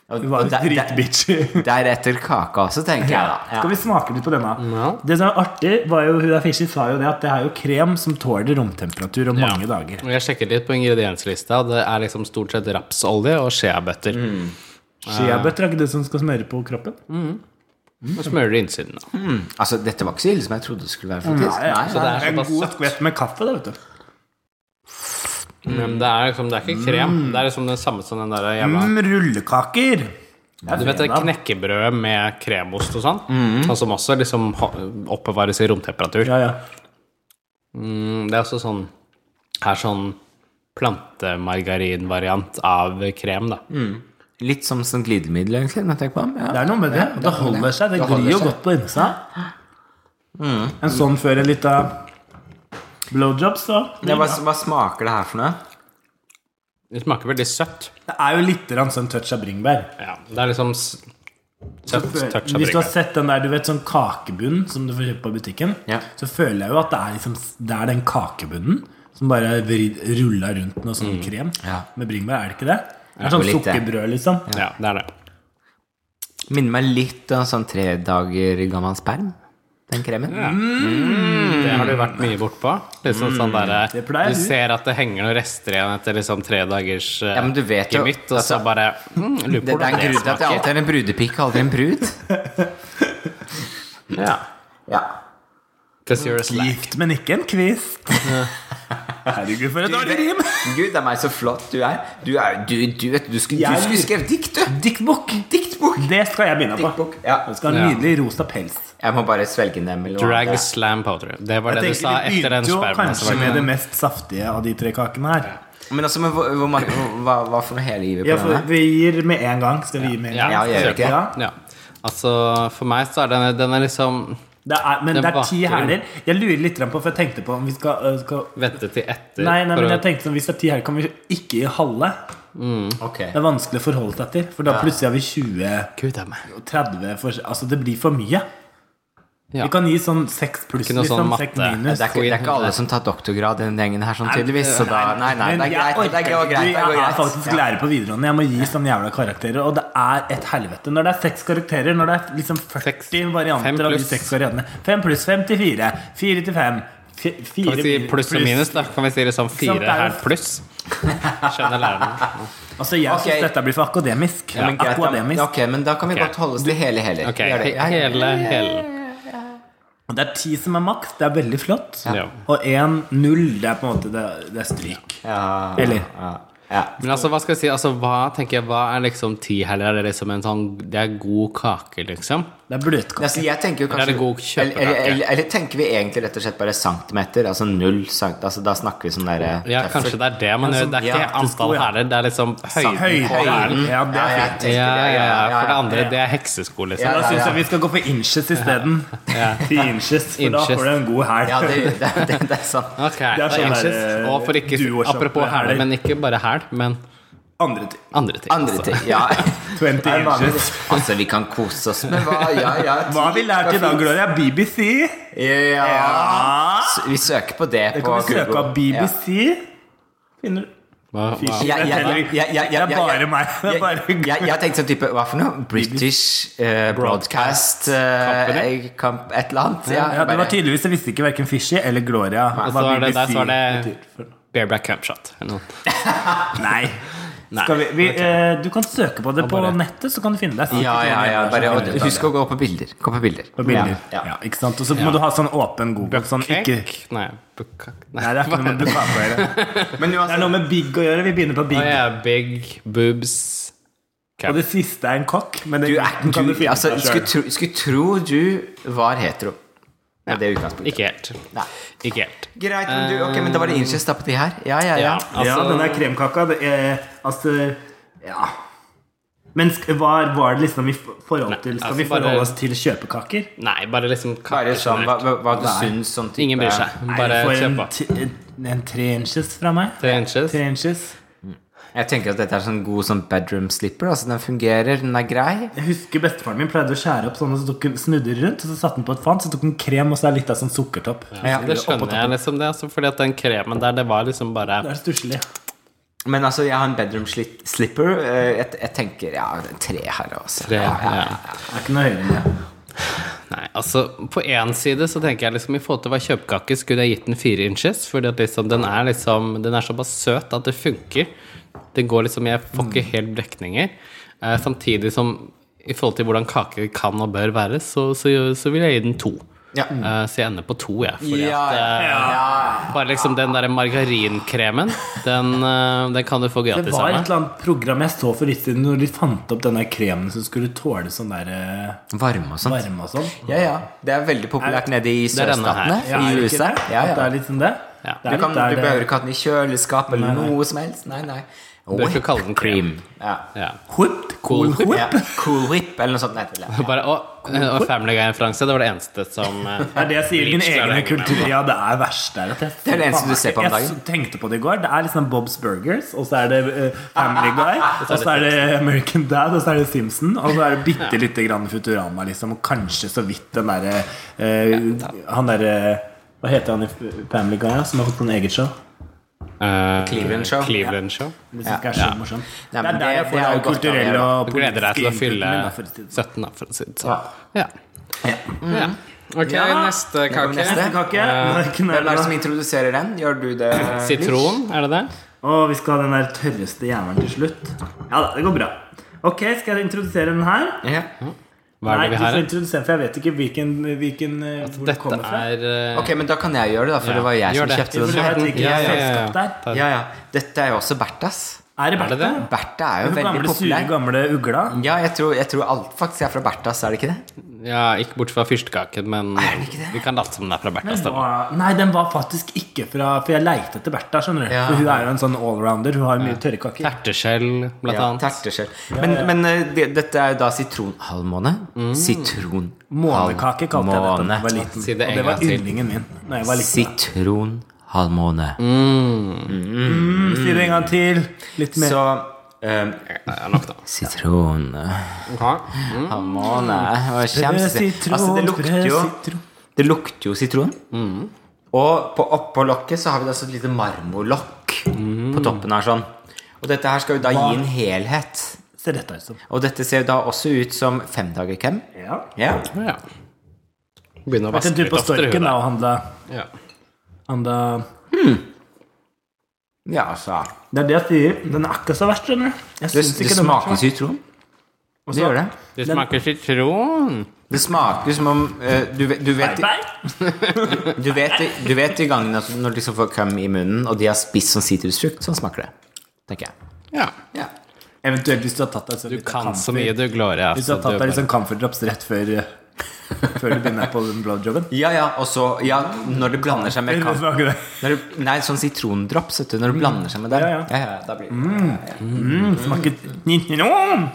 C: og,
B: Hun var
C: og
B: en
C: der- der-
B: dritbitch.
C: Deretter kaka også, tenker jeg da. [laughs] Ja.
B: Skal vi smake litt på denne?
A: Ja.
B: Det som er artig, var jo hun der fishy sa jo det at det er jo krem som tåler romtemperatur om
A: Ja.
B: mange dager.
A: Og Jeg sjekket litt på ingredienslista. og Det er liksom stort sett rapsolje og sheabøtter.
B: Mm. Skiabøtter er ikke det som skal smøre på kroppen?
A: Mm. Og smører det innsiden. da.
C: Altså, dette var ikke så ille som jeg trodde det skulle være. faktisk Nei,
A: Så det er
B: En
A: såpass
B: god
A: søtt.
B: skvett med kaffe, det, vet du. Mm.
A: Men det er liksom, det er ikke krem. Det er liksom det samme som den der jævla
B: Mm, rullekaker! Det er
A: Du vet det
B: fredag.
A: knekkebrødet med kremost og sånn? Og som også liksom ho- oppbevares i romtemperatur.
B: Mm. Ja, ja.
A: Mm, Det er også sånn Er sånn plantemargarinvariant av krem, da.
B: Mm.
C: Litt som sånn glidemiddel, egentlig. Når jeg tenker på dem.
B: Det
C: Ja.
B: er noe med det. Det holder seg. Det
C: Det holder
B: glir jo
C: seg.
B: godt på innsida.
A: Mm.
B: En sånn før en lita blowjob, så
C: Ja, hva, hva smaker det her for noe?
A: Det smaker veldig søtt.
B: Det er jo litt grann sånn touch av bringebær.
A: Ja, det er liksom s- søtt touch av
B: Hvis du har
A: bringebær.
B: sett den der, du vet, sånn kakebunn som du får kjøpt på butikken,
C: Ja.
B: så føler jeg jo at det er, liksom, det er den kakebunnen som bare vrid, ruller rundt noe
A: Mm.
B: sånn krem
C: Ja.
B: med bringebær. Er det ikke det? Det
C: Ja,
B: er sånn
C: jo, litt det.
B: sukkerbrød, liksom.
A: Ja, det er det.
C: Minner meg litt om sånn tre dager gammel sperm. Den kremen.
A: Det har du
C: Mm.
A: vært mye bortpå. Liksom sånn der,
B: Det pleier
A: du
B: du.
A: ser at det henger noen rester igjen etter liksom tre dagers eh,
C: Ja, men du vet jo- altså,
A: gemytt, og så bare mm, lurer på
C: Det, det er en
A: hvordan det
C: grunn til at jeg alltid
A: smaker.
C: er en brudepike, aldri en brud.
A: Ja.
C: Ja.
A: 'Cause you're a slack.
B: Gift, men ikke en kvist.
A: [laughs]
B: Herregud, for et dårlig rim!
C: [laughs] Gud, det er meg så flott du er. Du, er, du, du vet, du skulle,
B: Jeg-
C: du skulle skrevet dikt, du!
B: Diktbok!
C: Diktbok!
B: Det skal jeg begynne på.
C: Diktbok, ja.
B: Det skal ha en
A: Ja.
B: nydelig rosa pels.
C: Jeg må bare svelge dem. eller noe
A: Drag
C: annet.
A: slam powder. Det var
B: Jeg
A: det du sa
B: tenker Vi
A: etter den
B: begynte jo
A: spermen. som
B: kanskje
A: var-
B: med det mest saftige av de tre kakene her.
C: Men altså, men hvor, hvor mange, hva, hva for noe hele livet på
B: Ja, for
C: denne?
B: vi gir med en gang. Skal vi gi med en
A: Ja,
B: gang?
C: jeg gjør ikke.
B: Ja.
A: Ja. Altså, for meg så er den, den er liksom
B: Det er, men
A: Den
B: det er ti
A: vaker.
B: hæler. Jeg lurer litt på, for jeg tenkte på om vi skal, øh, skal
A: Vente til etter.
B: Nei, nei,
A: for
B: men
A: å-
B: jeg tenkte sånn, hvis det er ti hæler, kan vi ikke gi halve.
C: Ok.
B: Det er vanskelig å forholde seg til, for da plutselig har vi 20
A: Gud, det er meg.
B: og 30 for, Altså, det blir for mye.
A: Ja.
B: Vi kan gi sånn seks pluss,
A: Ikke noe
B: liksom.
A: sånn
B: Seks
A: matte.
C: Det
B: minus.
C: er, ikke, det er ikke alle som tar doktorgrad i den gjengen her, sånn tydeligvis. Så da, nei, nei, det er greit. Det er greit, det
B: jeg
C: går
B: er
C: greit.
B: faktisk lærer på videregående. Jeg må gi sånne jævla karakterer. Og det er et helvete. Når det er seks karakterer, når det er liksom 40
A: Seks. Fem
B: varianter av de
A: pluss.
B: seks variantene Fem pluss fem til fire. Fire til fem. fi-
A: Kan
B: fire
A: vi si
B: blir
A: pluss og minus, da? Kan vi si det sånn
B: Sant, det
A: fire
B: er jo-
A: her
B: [laughs]
A: pluss? Skjønner læreren.
B: Altså, jeg
C: Ok.
B: syns dette blir for akademisk.
C: Ja, men greit,
B: akademisk.
C: da, ok, men da kan vi
A: Ok.
C: godt holde oss til hele heller.
A: Ok,
C: Vi gjør det. Ja, ja.
A: hele, hele.
B: Og det er ti som er maks. Det er veldig flott.
A: Ja.
B: Og én null, det er på en måte det, det er stryk.
C: Ja,
B: Eller?
C: Ja, ja.
A: Men altså, hva skal jeg si? Altså, hva tenker jeg, hva er liksom ti heller? Er det liksom en sånn Det er god kake, liksom?
B: Det er bløtkake.
C: Altså, jeg tenker jo
A: Da er
C: kanskje
A: det god
C: eller,
A: kjøpekake.
C: eller, eller, eller tenker vi egentlig rett og slett bare centimeter? Altså null cent... Altså, da snakker vi sånn derre
A: Ja, kanskje det er det man gjør. Det er
C: ja,
A: ikke antall
B: ja.
A: hæler, det er liksom høyden.
B: Høyden.
A: på hælen.
B: Ja, det er
C: jeg
A: Ja,
B: fint.
C: tenker
A: ja,
C: det,
A: ja. For det andre,
B: ja.
A: det er heksesko,
B: Så
A: liksom.
B: Da syns
C: ja.
B: jeg vi skal gå for inches isteden. [laughs] Ti inches, for da
A: Inches.
B: får du en god hæl.
C: Ja, det, det, det, det er sant.
A: Ok, det
B: er
A: er
B: sånn
A: inches.
B: der, eh,
A: Og for ikke
B: duo-kjappe
A: Apropos hæler,
B: hæler.
A: men ikke bare hæl, men
B: Andre ting.
A: andre ting.
C: Andre
A: altså.
C: ting, ja.
A: [laughs]
B: 20
C: Er det vanlig?
B: inches.
C: Altså, vi kan kose oss med hva Ja, ja.
B: Hva har vi lært i dag, Gloria? BBC?
C: Ja.
B: Ja.
C: S- Vi søker på det
B: Det
C: på
B: Ah. kan vi søke
C: Google.
B: opp BBC. Finner du
A: Hva, hva?
C: Ja, ja, ja, ja, ja, ja, ja, ja.
B: Det er bare meg. Det er bare
C: Jeg, jeg, jeg tenkte sånn type Hva for noe? British eh, Broadcast eh,
A: Company?
C: Camp, Et eller annet. Ja,
B: Ja, det
C: bare-
B: var tydeligvis, Jeg visste ikke hverken Fishy eller Gloria.
A: Og så
B: hva
A: er det, der
B: BBC
A: så er
B: betyr for-
A: det Bareback Campshot. eller noe.
C: [laughs]
B: Nei. Skal vi, vi, eh, du kan søke på det på
A: bare-
B: nettet, så kan du finne det.
C: ja, ja, ja, bare, og, Husk å gå på bilder. Gå på bilder.
B: på bilder.
C: Ja,
B: Ja,
C: ja.
B: ikke sant? Og så må du ha sånn åpen Google. Sånn, ikke,
A: Cake? Nei, bukkak
B: nei, det er ikke noe med bukake å gjøre.
C: Men
B: Det er
C: uansett
B: noe med big å gjøre. Vi begynner på
A: Å
B: big.
A: ja, big boobs
B: Og det siste er en kokk. Men det
C: du, er,
B: kan
C: du,
B: du finne
C: altså,
B: ut av
C: skulle,
B: selv.
C: tro, skulle tro du var hetero. Med det utgangspunktet.
A: Ikke helt.
C: Nei.
A: Ikke helt.
C: Greit, men du, ok, men da var det inches da på de her. Ja, ja, ja.
A: Ja,
B: Ja,
A: altså
B: den der kremkaka det er, Altså, ja Men sk- var, var det liksom i forhold til Skal
A: altså
B: vi
A: bare-
B: forholde oss til kjøpekaker?
A: Nei, bare liksom
C: Bare sånn, hva,
A: generelt.
C: hva, hva du syns sånn type
A: Ingen bryr seg. Bare
B: Nei,
A: kjør
B: jeg
A: på.
B: får en, t- en tre inches fra meg.
A: Tre inches.
B: Tre inches.
C: Jeg tenker at dette er sånn god sånn bedroom slipper. Altså, den fungerer, den er grei.
B: Jeg husker bestefaren min pleide å skjære opp sånn, og så tok hun snudde det rundt, og så satte hun på et fant, så tok hun krem, og så er litt av sånn sukkertopp.
A: Ja, det
B: Oppå
A: skjønner
B: toppen.
A: jeg liksom det, altså, fordi at den kremen der, det var liksom bare
B: Det er stusslig.
C: Men altså, jeg har en bedroom sli- slipper. Eh, Jeg, jeg tenker ja, tre her altså. også.
A: Tre,
C: Ja, ja.
A: ja.
B: Det er ikke noe høyere enn det.
A: Nei, altså på én side så tenker jeg liksom i forhold til å være kjøpekake, skulle jeg gitt den fire inches, fordi at liksom den er liksom Den er såpass søt at det funker. Det går liksom Jeg får
C: Mm.
A: ikke helt brekninger. Eh, samtidig som i forhold til hvordan kaker kan og bør være, så, så, så vil jeg gi den to.
C: Ja.
A: Eh, så jeg ender på to, jeg. Fordi
C: Ja,
A: at
C: ja,
A: eh, Bare liksom den derre margarinkremen, den, eh, den kan du få
B: Det
A: gratis
B: var
A: av
B: et
A: meg.
B: eller annet program jeg så for litt siden, når de fant opp den der kremen som skulle tåle sånn der eh,
C: Varme og sånt.
B: varme og sånn.
C: Ja, ja. Det er veldig populært nede i
A: er denne
C: sørstatene.
A: her.
B: Ja, er
C: I
B: det ikke
C: USA.
B: det?
C: Ja,
B: At Det
C: ja.
B: er litt som det?
A: Ja.
B: Det
C: Du,
B: er
C: kan,
B: litt der eh,
C: du
B: det-
C: behøver ikke ha den i kjøleskap eller noe som helst. Nei, nei.
A: Bør ikke kalle den
C: cream. Ja.
A: Ja.
B: Whipped?
A: Cool
B: Cool whip?
C: Ja. Cool whip eller noe sånt. Nei, det er-
A: Bare, og, og Family Guy-referanse, det var det eneste som eh,
B: Det [laughs] er det jeg sier. Min
A: Leach klarer
B: egne
A: å henge meg
B: kultur. Ja, det er verst der. At jeg,
C: Det er det eneste du ser på om
B: Jeg
C: dagen.
B: tenkte på det i går. Det er liksom Bob's Burgers, og så er det eh, Family
C: [laughs]
B: Guy, og så er det American Dad, og så er det Simpson, og så er det bitte lite grann Futurama, liksom. Og kanskje så vidt den derre eh, Han derre Hva heter han i Family Guy, ja, som har fått sånn eget show?
A: Eh,
C: Cleveland Show.
A: Cleveland Show.
B: Det synes jeg er så morsomt.
C: Nei,
B: Det
C: men
B: er der
C: det-
B: jeg
C: det
B: får
C: er
B: det
C: jo godt av det,
B: kulturelle
C: da.
B: og
A: Du gleder deg til å
B: politiske
A: fylle
B: inputen min, da, for å si det
A: 17,
B: sånn. Mm.
A: da, for å si det sånn. Ja. Ja. Ok,
B: Ja.
A: neste
C: kommer neste. Eh,
A: kake. Eh,
B: Neste kake. Hvem
C: Hvem er det som introduserer den? Gjør du det?
A: Sitron, er det det?
B: Og vi skal ha den der tørreste jævelen til slutt. Ja da, det går bra. Ok, skal jeg introdusere den her?
C: Lars? Ja.
A: Hva er
B: Nei,
A: det vi
B: du
A: har? Altså,
B: får introdusere den, for jeg vet ikke hvilken, hvilken eh, hvor den
A: Dette
B: kommer fra.
A: er eh,
C: Ok, men da kan jeg gjøre det, da, for det var jeg
A: Gjør
C: som
A: det.
C: kjøpte
B: For jeg
C: den.
B: vet ikke
A: Ja, ja, ja, ja.
B: selskap der.
C: Ja, ja. Dette er jo også Berthas.
B: Er det
A: Er det
B: Bertha?
A: det?
C: Bertha er jo
B: Hun
C: veldig
B: gamle, sure,
C: populær.
B: gamle ugla?
C: Ja, jeg tror, jeg tror alt faktisk er fra Berthas, er det ikke det?
A: Ja, ikke bort fra fyrstekaken, men vi kan late som den er fra Berthas. da.
B: Hva- Nei, den var faktisk ikke fra For jeg leite etter Bertha, skjønner du.
C: Ja.
B: For hun er jo en sånn allrounder. Hun har jo mye tørrkaker.
A: Terteskjell, blant
C: Ja,
A: annet.
C: terteskjell. Men, men eh, det, dette er jo da sitronhalvmåne.
A: Mm.
C: Sitron...
B: Månekake kalte jeg det da
C: Måne.
B: jeg var liten.
A: Si det en
B: og det var
A: gang til.
B: yndlingen min da jeg var liten.
C: Sitronhalvmåne.
B: Mm, Si det en gang til. Litt mer.
C: Så um,
A: Ja, nok, da.
C: Sitronhalvmåne
A: Mm.
C: Det var kjempe-
B: Sitron,
C: Altså, det lukter jo
B: sitron.
C: Det lukter jo sitron.
A: Mm.
C: Og på oppå lokket så har vi da så et lite marmorlokk
A: Mm.
C: på toppen her sånn. Og dette her skal jo da gi en helhet.
B: Ser dette ut som.
C: Og dette ser jo da også ut som femdagerkrem.
B: Ja.
C: Ja.
A: Ja. Begynne å
B: Vært
A: vaske
B: en tur
A: litt
B: på
A: oftere.
B: Storken
A: hun,
B: da og handla
A: da. Ja.
B: Anda
C: Ja, altså.
B: Det er det jeg sier. Den er ikke så verst, skjønner du. Jeg
C: Det,
B: syns
C: det
B: ikke den er så
C: smaker
B: verst.
C: sitron. Det gjør det.
A: Det smaker sitron.
C: Det smaker som om eh, du, vet- du, vet,
B: Nei,
C: du, vet, du vet de gangene at når du liksom får køm i munnen, og de har spist sånn sitrusfrukt, sånn smaker det. Tenker jeg.
A: Ja.
C: Ja.
B: Eventuelt hvis du har tatt deg så
A: Du
B: litt
A: kan
B: kamfer-
A: så mye, du, Gloria.
B: Hvis du har
A: så du
B: tatt deg
A: bare-
B: litt sånn camphor drops rett før eh, Før du begynner på den blowjoben.
C: Ja, ja, og så Ja, når det blander seg med
B: Det
C: kamp
B: smaker det.
C: når du, Nei, sånn sitrondrops, vet du. Når det blander seg med den.
B: Mm. Ja, ja.
C: da blir det
B: Mm, smaker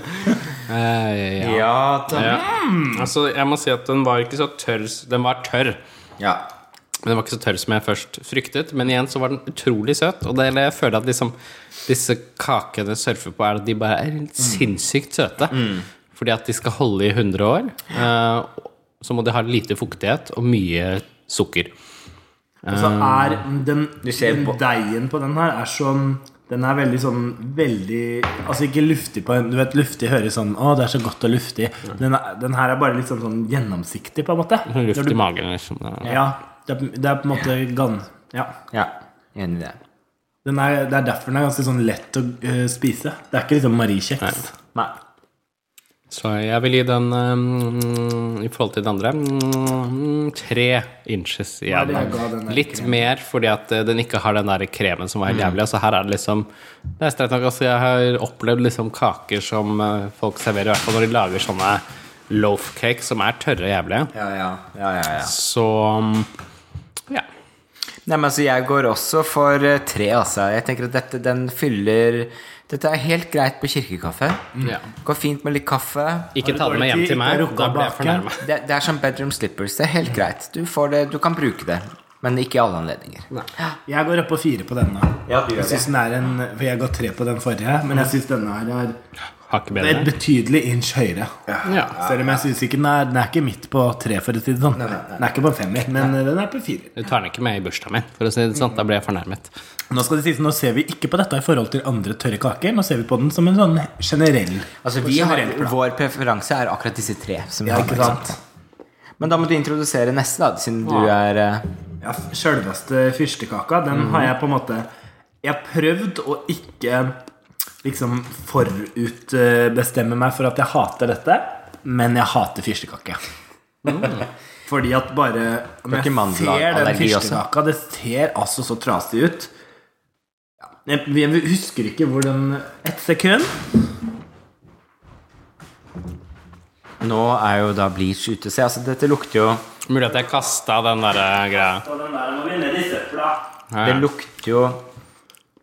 A: Eh, ja.
C: Ja da.
A: Ja. Altså, jeg må si at den var ikke så tørr Den var tørr.
C: Ja.
A: Men den var ikke så tørr som jeg først fryktet. Men igjen så var den utrolig søt. Og det, eller jeg føler at liksom, disse kakene surfer på, er at de bare er helt
B: Mm.
A: sinnssykt søte. Fordi at de skal holde i 100 år. eh, så må de ha lite fuktighet og mye sukker.
B: Og så er den,
C: Ah. ser
B: den
C: på-
B: deigen på den her er sånn den er veldig sånn veldig Altså ikke luftig på en Du vet, luftig høres sånn Å, det er så godt og luftig. Den, er, den her er bare litt sånn, sånn gjennomsiktig, på en måte. Når
A: Luft
B: du-
A: i magen, liksom. Ja.
B: Ja. Det er, det er på en måte gan... Ja.
C: ja. Enig i det.
B: Den er, det er derfor den er ganske sånn lett å eh, spise. Det er ikke liksom mariekjeks.
C: Nei.
A: Så jeg vil gi den eh, i forhold til den andre mm, tre inches
B: Hva er
A: igjen.
B: Mm. det jeg ga den der
A: Litt mer fordi at eh, den ikke har den der kremen som var helt jævlig. Altså her er det liksom Det er streit nok. Altså jeg har opplevd liksom kaker som eh, folk serverer, i hvert fall når de lager sånne loaf cake som er tørre og jævlige.
C: Ja, ja. ja, ja, ja.
A: Så um, ja.
C: Nei, men altså, jeg går også for eh, tre, altså. Jeg tenker at dette, den fyller Dette er helt greit på kirkekaffe.
A: ja.
C: Går fint med litt kaffe.
A: Ikke ta
B: dårlig
A: det med hjem
B: tid,
A: til meg.
B: Mm. ikke rukka
A: Da blir jeg
B: bake.
A: fornærma.
C: Det, det er som bedroom slippers. Det er helt greit. Du, får det, du kan bruke det, men ikke i alle anledninger.
B: Jeg går opp på fire på denne.
C: Ja, du gjør
B: jeg synes den er en For jeg ga tre på den forrige, men jeg syns denne her er
A: Hakket
B: Det Mm. er et
A: bedre.
B: betydelig inch høyere.
A: Ja.
B: Selv om jeg synes ikke den er Den er ikke midt på tre, for å si det sånn. Den er ikke på en femmer, men eh, den er på fire.
A: Du tar den ikke med i bursdagen min, for å si det sånn. Da blir jeg fornærmet.
B: Nå skal det sies, nå ser vi ikke på dette i forhold til andre tørre kaker. Nå ser vi på den som en sånn generell
C: Altså, vi har, vår preferanse er akkurat disse tre. Som vi
B: Ja,
C: har,
B: ikke
C: ikke sant?
B: sant?
C: Men da må du introdusere neste, da, siden du er eh,
B: Ja, Sjølveste fyrstekaka, den har jeg på en måte Jeg har prøvd å ikke liksom forutbestemme meg for at jeg hater dette, men jeg hater fyrstekake.
A: Mm.
B: Fordi at bare Når jeg
C: ikke
B: ser den
C: mandelallergi også?
B: fyrstekaka, det ser altså så trasig ut. Jeg, jeg husker ikke hvor den Ett sekund.
C: Nå er jo da bleach ute. Se, altså, dette lukter jo
A: Mulig at jeg kasta den der eh, greia.
B: Og den der må vi ned i søpla.
A: Ja,
C: Det
A: ja.
C: lukter jo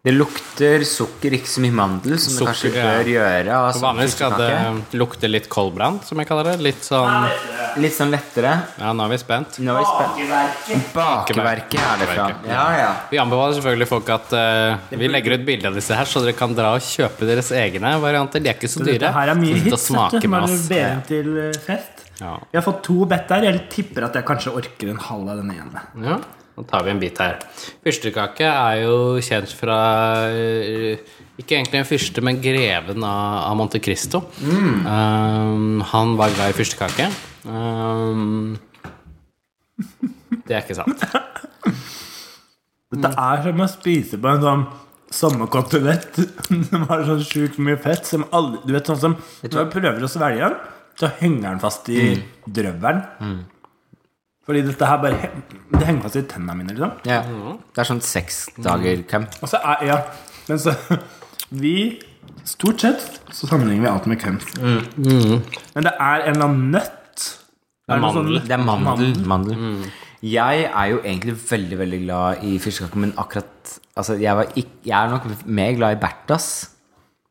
C: Det lukter sukker, ikke så mye mandel, som
A: Sukker,
C: du kanskje
A: ja.
C: bør gjøre. av sånn
A: Vanligvis skal det
C: fyrstekake.
A: lukte litt koldbrann, som jeg kaller det. Litt sånn
C: Litt sånn lettere.
A: Ja, nå er vi spent.
C: Nå er vi spent. Bakeverket er det fra.
A: Bakeverket,
C: Ja, ja.
A: Vi anbefaler selvfølgelig folk at eh, vi legger ut bilde av disse her, så dere kan dra og kjøpe deres egne varianter. De er ikke så dyre.
B: Dette her er mye
A: Så sitt og
B: hits. vet [laughs]
A: smake
B: du,
A: med
B: Bare
A: oss.
B: ber inn til eh, fest.
A: Ja.
B: Vi har fått to bett der. Jeg tipper at jeg kanskje orker en halv av denne ene.
A: Ja, da tar vi en bit her. Fyrstekake er jo kjent fra eh, Ikke egentlig en fyrste, men greven av, av Monte Cristo. Um, han var glad i fyrstekake. Um, det er ikke sant.
B: Dette er som å spise på en sånn sommerkotelett [laughs] som har sånn sjukt mye fett. Som alle, du vet sånn som Når du prøver å svelge den, så henger den fast i drøvelen. Fordi dette her bare he- Det henger fast i tennene mine, liksom.
C: ja.
A: Mm.
C: Det er sånn seksdager-camp.
B: Og så er Ja. Men så [laughs] Vi Stort sett så sammenligner vi alt med køms. Men det er en eller annen nøtt. Det er noe
A: mandel.
B: sånn-
C: Det er mandel. mandel. Jeg er jo egentlig veldig veldig glad i fyrstekake, men akkurat altså, jeg, var ikk- jeg er nok mer glad i Bertas.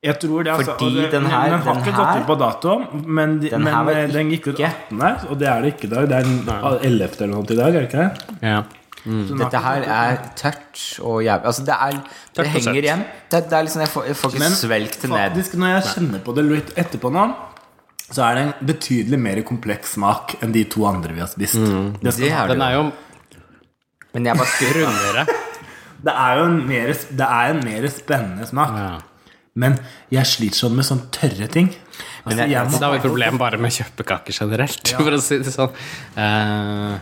B: Jeg tror det, altså.
C: Fordi
B: og det,
C: den her-
B: men den har
C: den
B: ikke
C: her-
B: gått ut på dato, men, de,
C: Den
B: men
C: her var
B: eh, den gikk ut
C: ikke-
B: 18., og det er det ikke i dag. Det er den 11. eller noe sånt i dag, er det ikke det?
A: Ja.
B: Så den har
C: Dette
B: ikke
C: her
B: gått ut.
C: er tørt og jævlig Altså, det er Det
A: og søtt.
C: henger igjen. Det, det er liksom Jeg får, jeg får ikke
B: Men
C: svelgt det ned.
B: Faktisk, når jeg kjenner på det litt etterpå nå, så er det en betydelig mer kompleks smak enn de to andre vi har spist. Det,
C: Det
B: skal,
C: er det
A: Den
C: jo.
A: er jo
C: Men jeg bare skrur
A: rundere.
B: det er jo en mer, det er en mer spennende smak.
A: Ja.
B: Men jeg sliter sånn med sånne tørre ting. Altså,
C: jeg-
B: jeg
A: Så
B: må,
A: da har vi et problem bare med kjøpekaker generelt, for å si det sånn. Eh,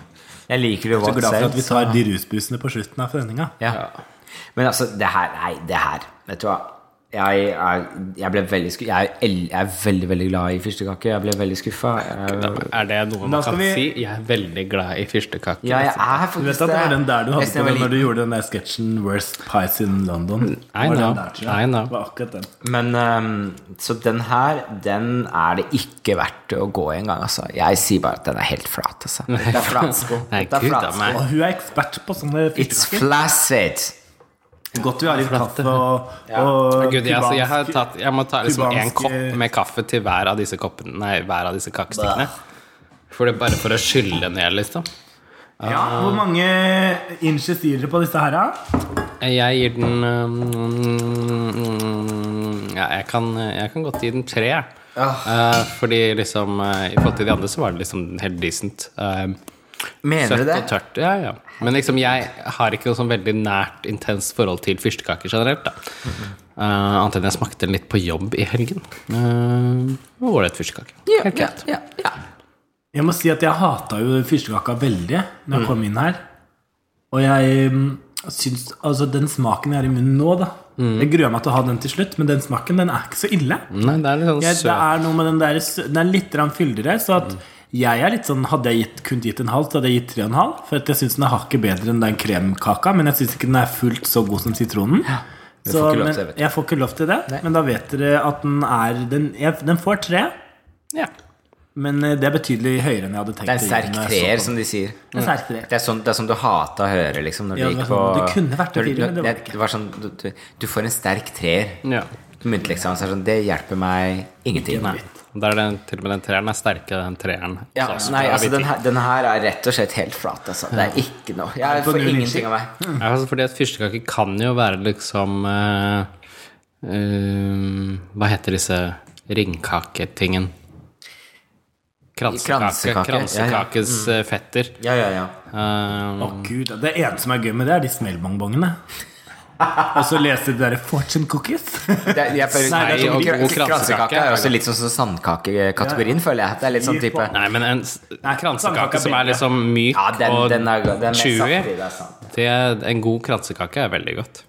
C: Jeg liker det
B: Så
C: godt
B: glad for at
C: selv.
B: vi tar de rusbrusene på slutten av sendinga.
C: Ja. Men altså, det her Nei, det her. Vet du hva? Jeg, er, jeg ble veldig sku- Jeg er, el- jeg er veldig, veldig glad i fyrstekake. Jeg ble veldig skuffa. Jeg,
A: Er det noe
B: Da
A: man
B: skal
A: kan
B: vi-
A: si? Jeg er veldig glad i fyrstekake.
C: ja, jeg er
B: Du vet
C: faktisk
B: at det var den der du hadde
C: Nesten
B: på den
C: jeg var
B: når du gjorde den der sketsjen 'Worst Pies in London'?
A: I
B: Var den
A: know.
B: der, tror jeg.
A: I know.
B: Det var akkurat den.
C: Men ehm, Så den her, den er det ikke verdt å gå i engang, altså. Jeg sier bare at den er helt flat, altså. Det er flatsko.
A: [laughs] Nei,
C: Dette er
A: gud a
C: flatsko.
A: meg.
B: Og hun er ekspert på sånne
C: It's
B: fiskekaker.
C: flaccid.
B: Godt vi har litt
A: Flate.
B: kaffe og, og
A: Gud, jeg, altså, jeg, har
B: kubansk-
A: tatt, jeg må ta liksom én
B: kubansk-
A: kopp med kaffe til hver av disse, koppene, nei, hver av disse kakestykkene. For det er bare for å skylle ned, liksom.
B: Ja, Hvor mange inches gir dere på disse her, da?
A: Jeg gir den um, Ja, jeg kan, jeg kan godt gi den tre. jeg.
B: Ah.
A: Eh, fordi liksom eh, I forhold til de andre så var det liksom helt decent. Eh,
C: Mener du
A: søtt
C: det?
A: og tørt. Ja, ja. Men liksom jeg har ikke noe sånn veldig nært, intenst forhold til fyrstekaker generelt. da Eh, Annet enn jeg smakte den litt på jobb i helgen. Uh, Ålreit fyrstekake.
C: Ja,
A: Helt
C: ja,
A: greit.
C: ja, ja.
B: Jeg må si at jeg hata jo fyrstekaka veldig når
A: Mm.
B: jeg kom inn her. Og jeg mm, syns Altså, den smaken jeg har i munnen nå, da
A: Mm.
B: Jeg gruer meg til å ha den til slutt, men den smaken, den er ikke så ille.
A: Nei, det er litt sånn
B: Jeg, det
A: søt.
B: er noe med den der sø- Den er litt grann fyldigere, så at jeg er litt sånn Hadde jeg gitt, kun gitt en halv, så hadde jeg gitt tre og en halv. For at jeg syns den er hakket bedre enn den kremkaka, men jeg syns ikke den er fullt så god som sitronen.
C: du
B: Så,
C: får ikke lov
B: men,
C: til det, vet du.
B: jeg får ikke lov til det, men da vet dere at den er Den, jeg, den får tre,
A: Ja.
B: men eh, det er betydelig høyere enn jeg hadde tenkt.
C: Det er en
B: å gi
C: sterk
B: den når jeg så
C: treer,
B: på
C: som de sier.
B: den. En sterk treer.
C: Det er sånn, det er sånn du hata å høre, liksom, når
B: Ja, det
C: du gikk på
B: var sånn, det kunne vært en
C: når du-
B: firer, men det var det ikke.
C: Det var sånn, du, du, du får en sterk treer.
A: ja.
C: Myntleksamen så er det sånn Det hjelper meg ingenting.
A: Nei. Der er den, til og med den treeren er sterkere enn den treeren.
C: Ja,
A: Så-
C: nei, altså den her, den her er rett og slett helt flat, altså. Det er ikke noe Jeg
B: På
C: får
B: null
C: ingenting av meg.
A: Ja, altså fordi at fyrstekake kan jo være liksom eh, eh, Hva heter disse ringkaketingen? Kransekake.
C: Kransekake, Mm.
A: Kransekakes eh, fetter.
C: Ja, ja, ja.
A: Eh,
B: Å gud, Det ene som er gøy med det, er de smellbongbongene. Og så leser de der fortune cookies.
C: Det, er- [laughs] jeg føler,
A: Nei, det er sånn-
C: kra-
A: god kransekake
C: kransekake
A: er
C: er også
A: godt.
C: litt sånn som sandkakekategorien, føler jeg. Det er litt sånn type
A: nei, men en s-
B: Nei,
A: kransekake
B: kransekake
A: som
B: er
A: er liksom myk
C: Ja, den,
A: og
C: den er god. Den er
A: chewy.
C: saftig, det er sant.
A: det, En god kransekake er veldig godt.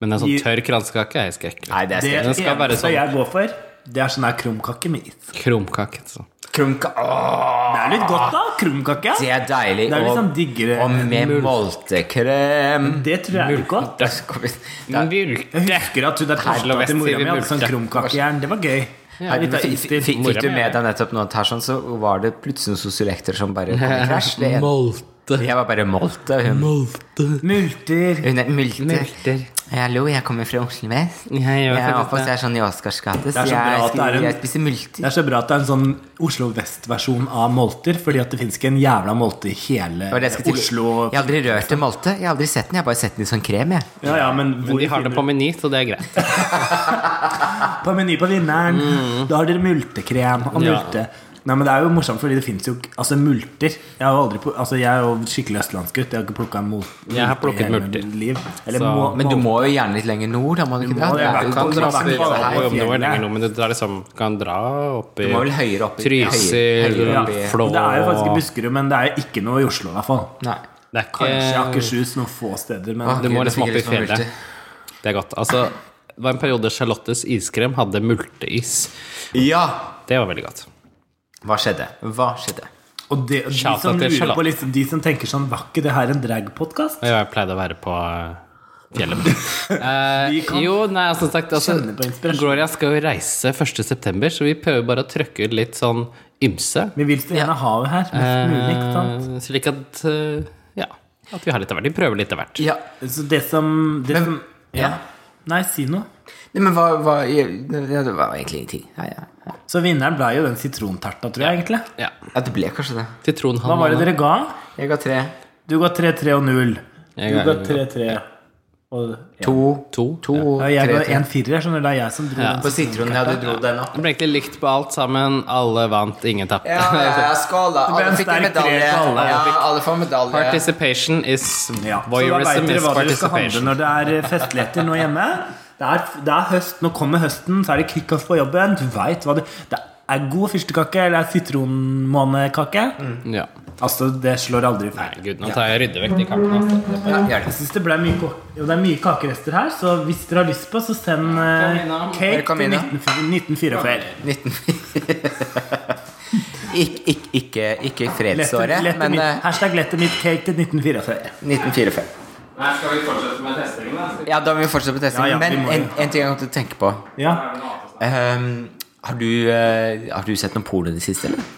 A: Men en sånn
B: Gi-
A: tørr kransekake er skrekkelig.
C: Nei, det er
B: Det
C: skrekkelig.
A: Den skal være
B: eneste
A: sånn.
B: jeg går for, det er sånn her krumkake med is.
A: Krumkake. altså.
C: Krumka Åh,
B: Det er litt godt,
A: Ah.
B: da. Krumkake.
C: det er deilig.
B: Det er litt
C: og-
B: sånn diggere
C: Og med
B: mul-
C: multekrem.
B: Det tror jeg er litt
C: [laughs]
B: godt.
C: Da skal vi- da-
A: Multe!
B: Jeg husker at hun der
A: Herlo
B: kasta til
A: Vest
B: mora
A: sier vi
B: mi hadde sånn
A: multe.
B: krumkakejern. Det var gøy.
A: Ja,
B: Litt av
C: Fikk
B: is til.
C: fikk- fikk du
A: Mora mi,
C: med
A: ja.
C: deg nettopp noe, Tarzan, så var det plutselig noen sosiolekter som bare kom i krasj. Det ene-
A: Molte.
C: Jeg var bare molte. Hun,
A: Molte.
B: Multer.
C: hun er multer.
A: Multer.
C: Jeg lo, jeg kommer fra Oslo Vest.
A: Jeg gjør
C: jeg var
A: faktisk
C: på
A: det.
C: Stasjon sånn i Oscars gate,
B: er så bra
C: så jeg,
B: at det er
C: spiser-
B: en-
C: jeg spiser multer.
B: Det er så bra at det er en sånn Oslo Vest-versjon av molter, fordi at det fins ikke en jævla molte i hele
C: Det var det jeg skulle til-
B: Oslo.
C: Jeg har aldri rørt en molte. Jeg har aldri sett den. Jeg har bare sett den i sånn krem, jeg.
B: Ja, ja, men hvor
A: Men de har det på meny, så det er greit.
B: På Meny på Vinneren. Da har dere multekrem og
A: Mm. Ja.
B: multe. Nei, men Det er jo morsomt, fordi det fins jo ikke- altså, multer. Jeg er jo, aldri, på- altså, jeg er jo skikkelig østlandsgutt. Jeg har ikke plukka en mul- multe
A: Jeg har plukket
B: i hele
A: multer.
B: mitt Liv. Eller
A: Så-
B: må,
C: Men du
B: må-
C: må jo gjerne litt lenger nord, da må du ikke
B: må det,
C: det?
B: i
C: er
B: hvert
C: jo
B: fall
A: Kan dra
B: dra
A: til
B: til-
A: Nei, om det var
B: fjellet.
A: lenger nå, men det er liksom Kan dra opp i
C: Du må vel høyere opp i-
A: Trysil,
C: høyere- høyere opp i-
A: Flå
B: Det er jo faktisk i Buskerud, men det er jo ikke noe i Oslo, i hvert fall.
C: Nei.
A: Det er
B: Kanskje
A: ikke
B: Akershus noen få steder, men
C: Åh,
A: Du Eh, må
C: Gud,
A: liksom opp
C: jeg
A: i
C: fikk lyst på
A: fjellet. Det er godt. Altså, det var en periode Charlottes iskrem hadde multeis.
C: multer. Ja!
A: Det var veldig godt.
C: Hva skjedde? Hva skjedde?
B: Og det, og de,
A: Shout
B: som
A: out til
B: lurer
A: Charlotte.
B: på, liksom, de som tenker sånn Var ikke det her en dragpodkast?
A: Og jeg pleide å være på eh, fjellet. Eh,
B: Vi kan
A: [laughs] jo, nei, som sagt altså,
B: kjenne på inspirasjon.
A: Gloria skal jo reise 1.9., så vi prøver bare å trøkke ut litt sånn ymse.
B: Vi vil så gjerne ha det her mest mulig. ikke sant?
A: Eh, slik at eh, Ja. At vi har litt av hvert. Vi prøver litt av hvert.
C: Ja.
B: Så det som, det som ja.
C: ja.
B: Nei, si noe.
C: Nei, men hva, hva ja, Det var egentlig ingenting. Ja, ja. ja.
B: Så vinneren ble jo den sitronterta, tror jeg, egentlig.
A: Ja.
C: ja, det ble kanskje
B: Hva
C: det.
B: var det
A: Sitronhalvmåne.
B: dere ga?
C: Jeg ga tre.
B: Du ga 3-3 og 0.
A: Jeg
B: Du
A: ga-
B: ga 3-3 og
C: To.
A: To.
C: To.
B: ja, Jeg ga
C: tre, tre.
B: 1-4, skjønner du. Det er jeg som dro
A: Ja.
B: den.
C: På sitronen, ja, du dro den opp.
A: Det ble egentlig likt på alt sammen. Alle vant, ingen tapte.
C: Ja, ja, ja, skål, da.
B: ble en
C: Alle fikk en
B: sterk tre
C: medalje.
B: for alle.
C: Ja, alle får
A: [laughs]
C: medalje.
A: Participation is
B: Ja. Så da veit
A: voyeurism
B: dere
A: is
B: hva dere skal handle
A: participation.
B: når det er eh, festligheter nå hjemme. Det er, det er høst, Nå kommer høsten, så er det kickoff på
C: Mm.
B: jobben. Du vet hva det Det er god fyrstekake eller sitronmånekake.
A: Ja.
B: Altså, det slår aldri feil.
A: Nei, gud, nå tar jeg og rydder vekk de kampene. Altså.
C: Ja, gjør
B: Jeg
C: det.
B: synes det ble mye, ko- jo, det er mye kakerester her, så hvis dere har lyst på, så send eh,
A: Kom innom.
B: cake
C: Kom
B: til
C: innom.
B: 19, 1944.
C: 19 Ik, ik, ikke, ikke
B: Lette,
C: fredsåret,
B: lette
C: men
B: mitt,
C: eh,
B: hashtag 'lette mitt cake til 1944'.
C: 1945.
A: Nei, skal vi fortsette med testingen, da?
C: Ja, da må vi fortsette på testing.
B: Ja, ja, vi
C: men
B: må
C: en,
B: jo.
C: en ting jeg måtte tenke på.
B: Ja.
C: Ehm, har, du, eh, har du sett noe porno i det siste, eller?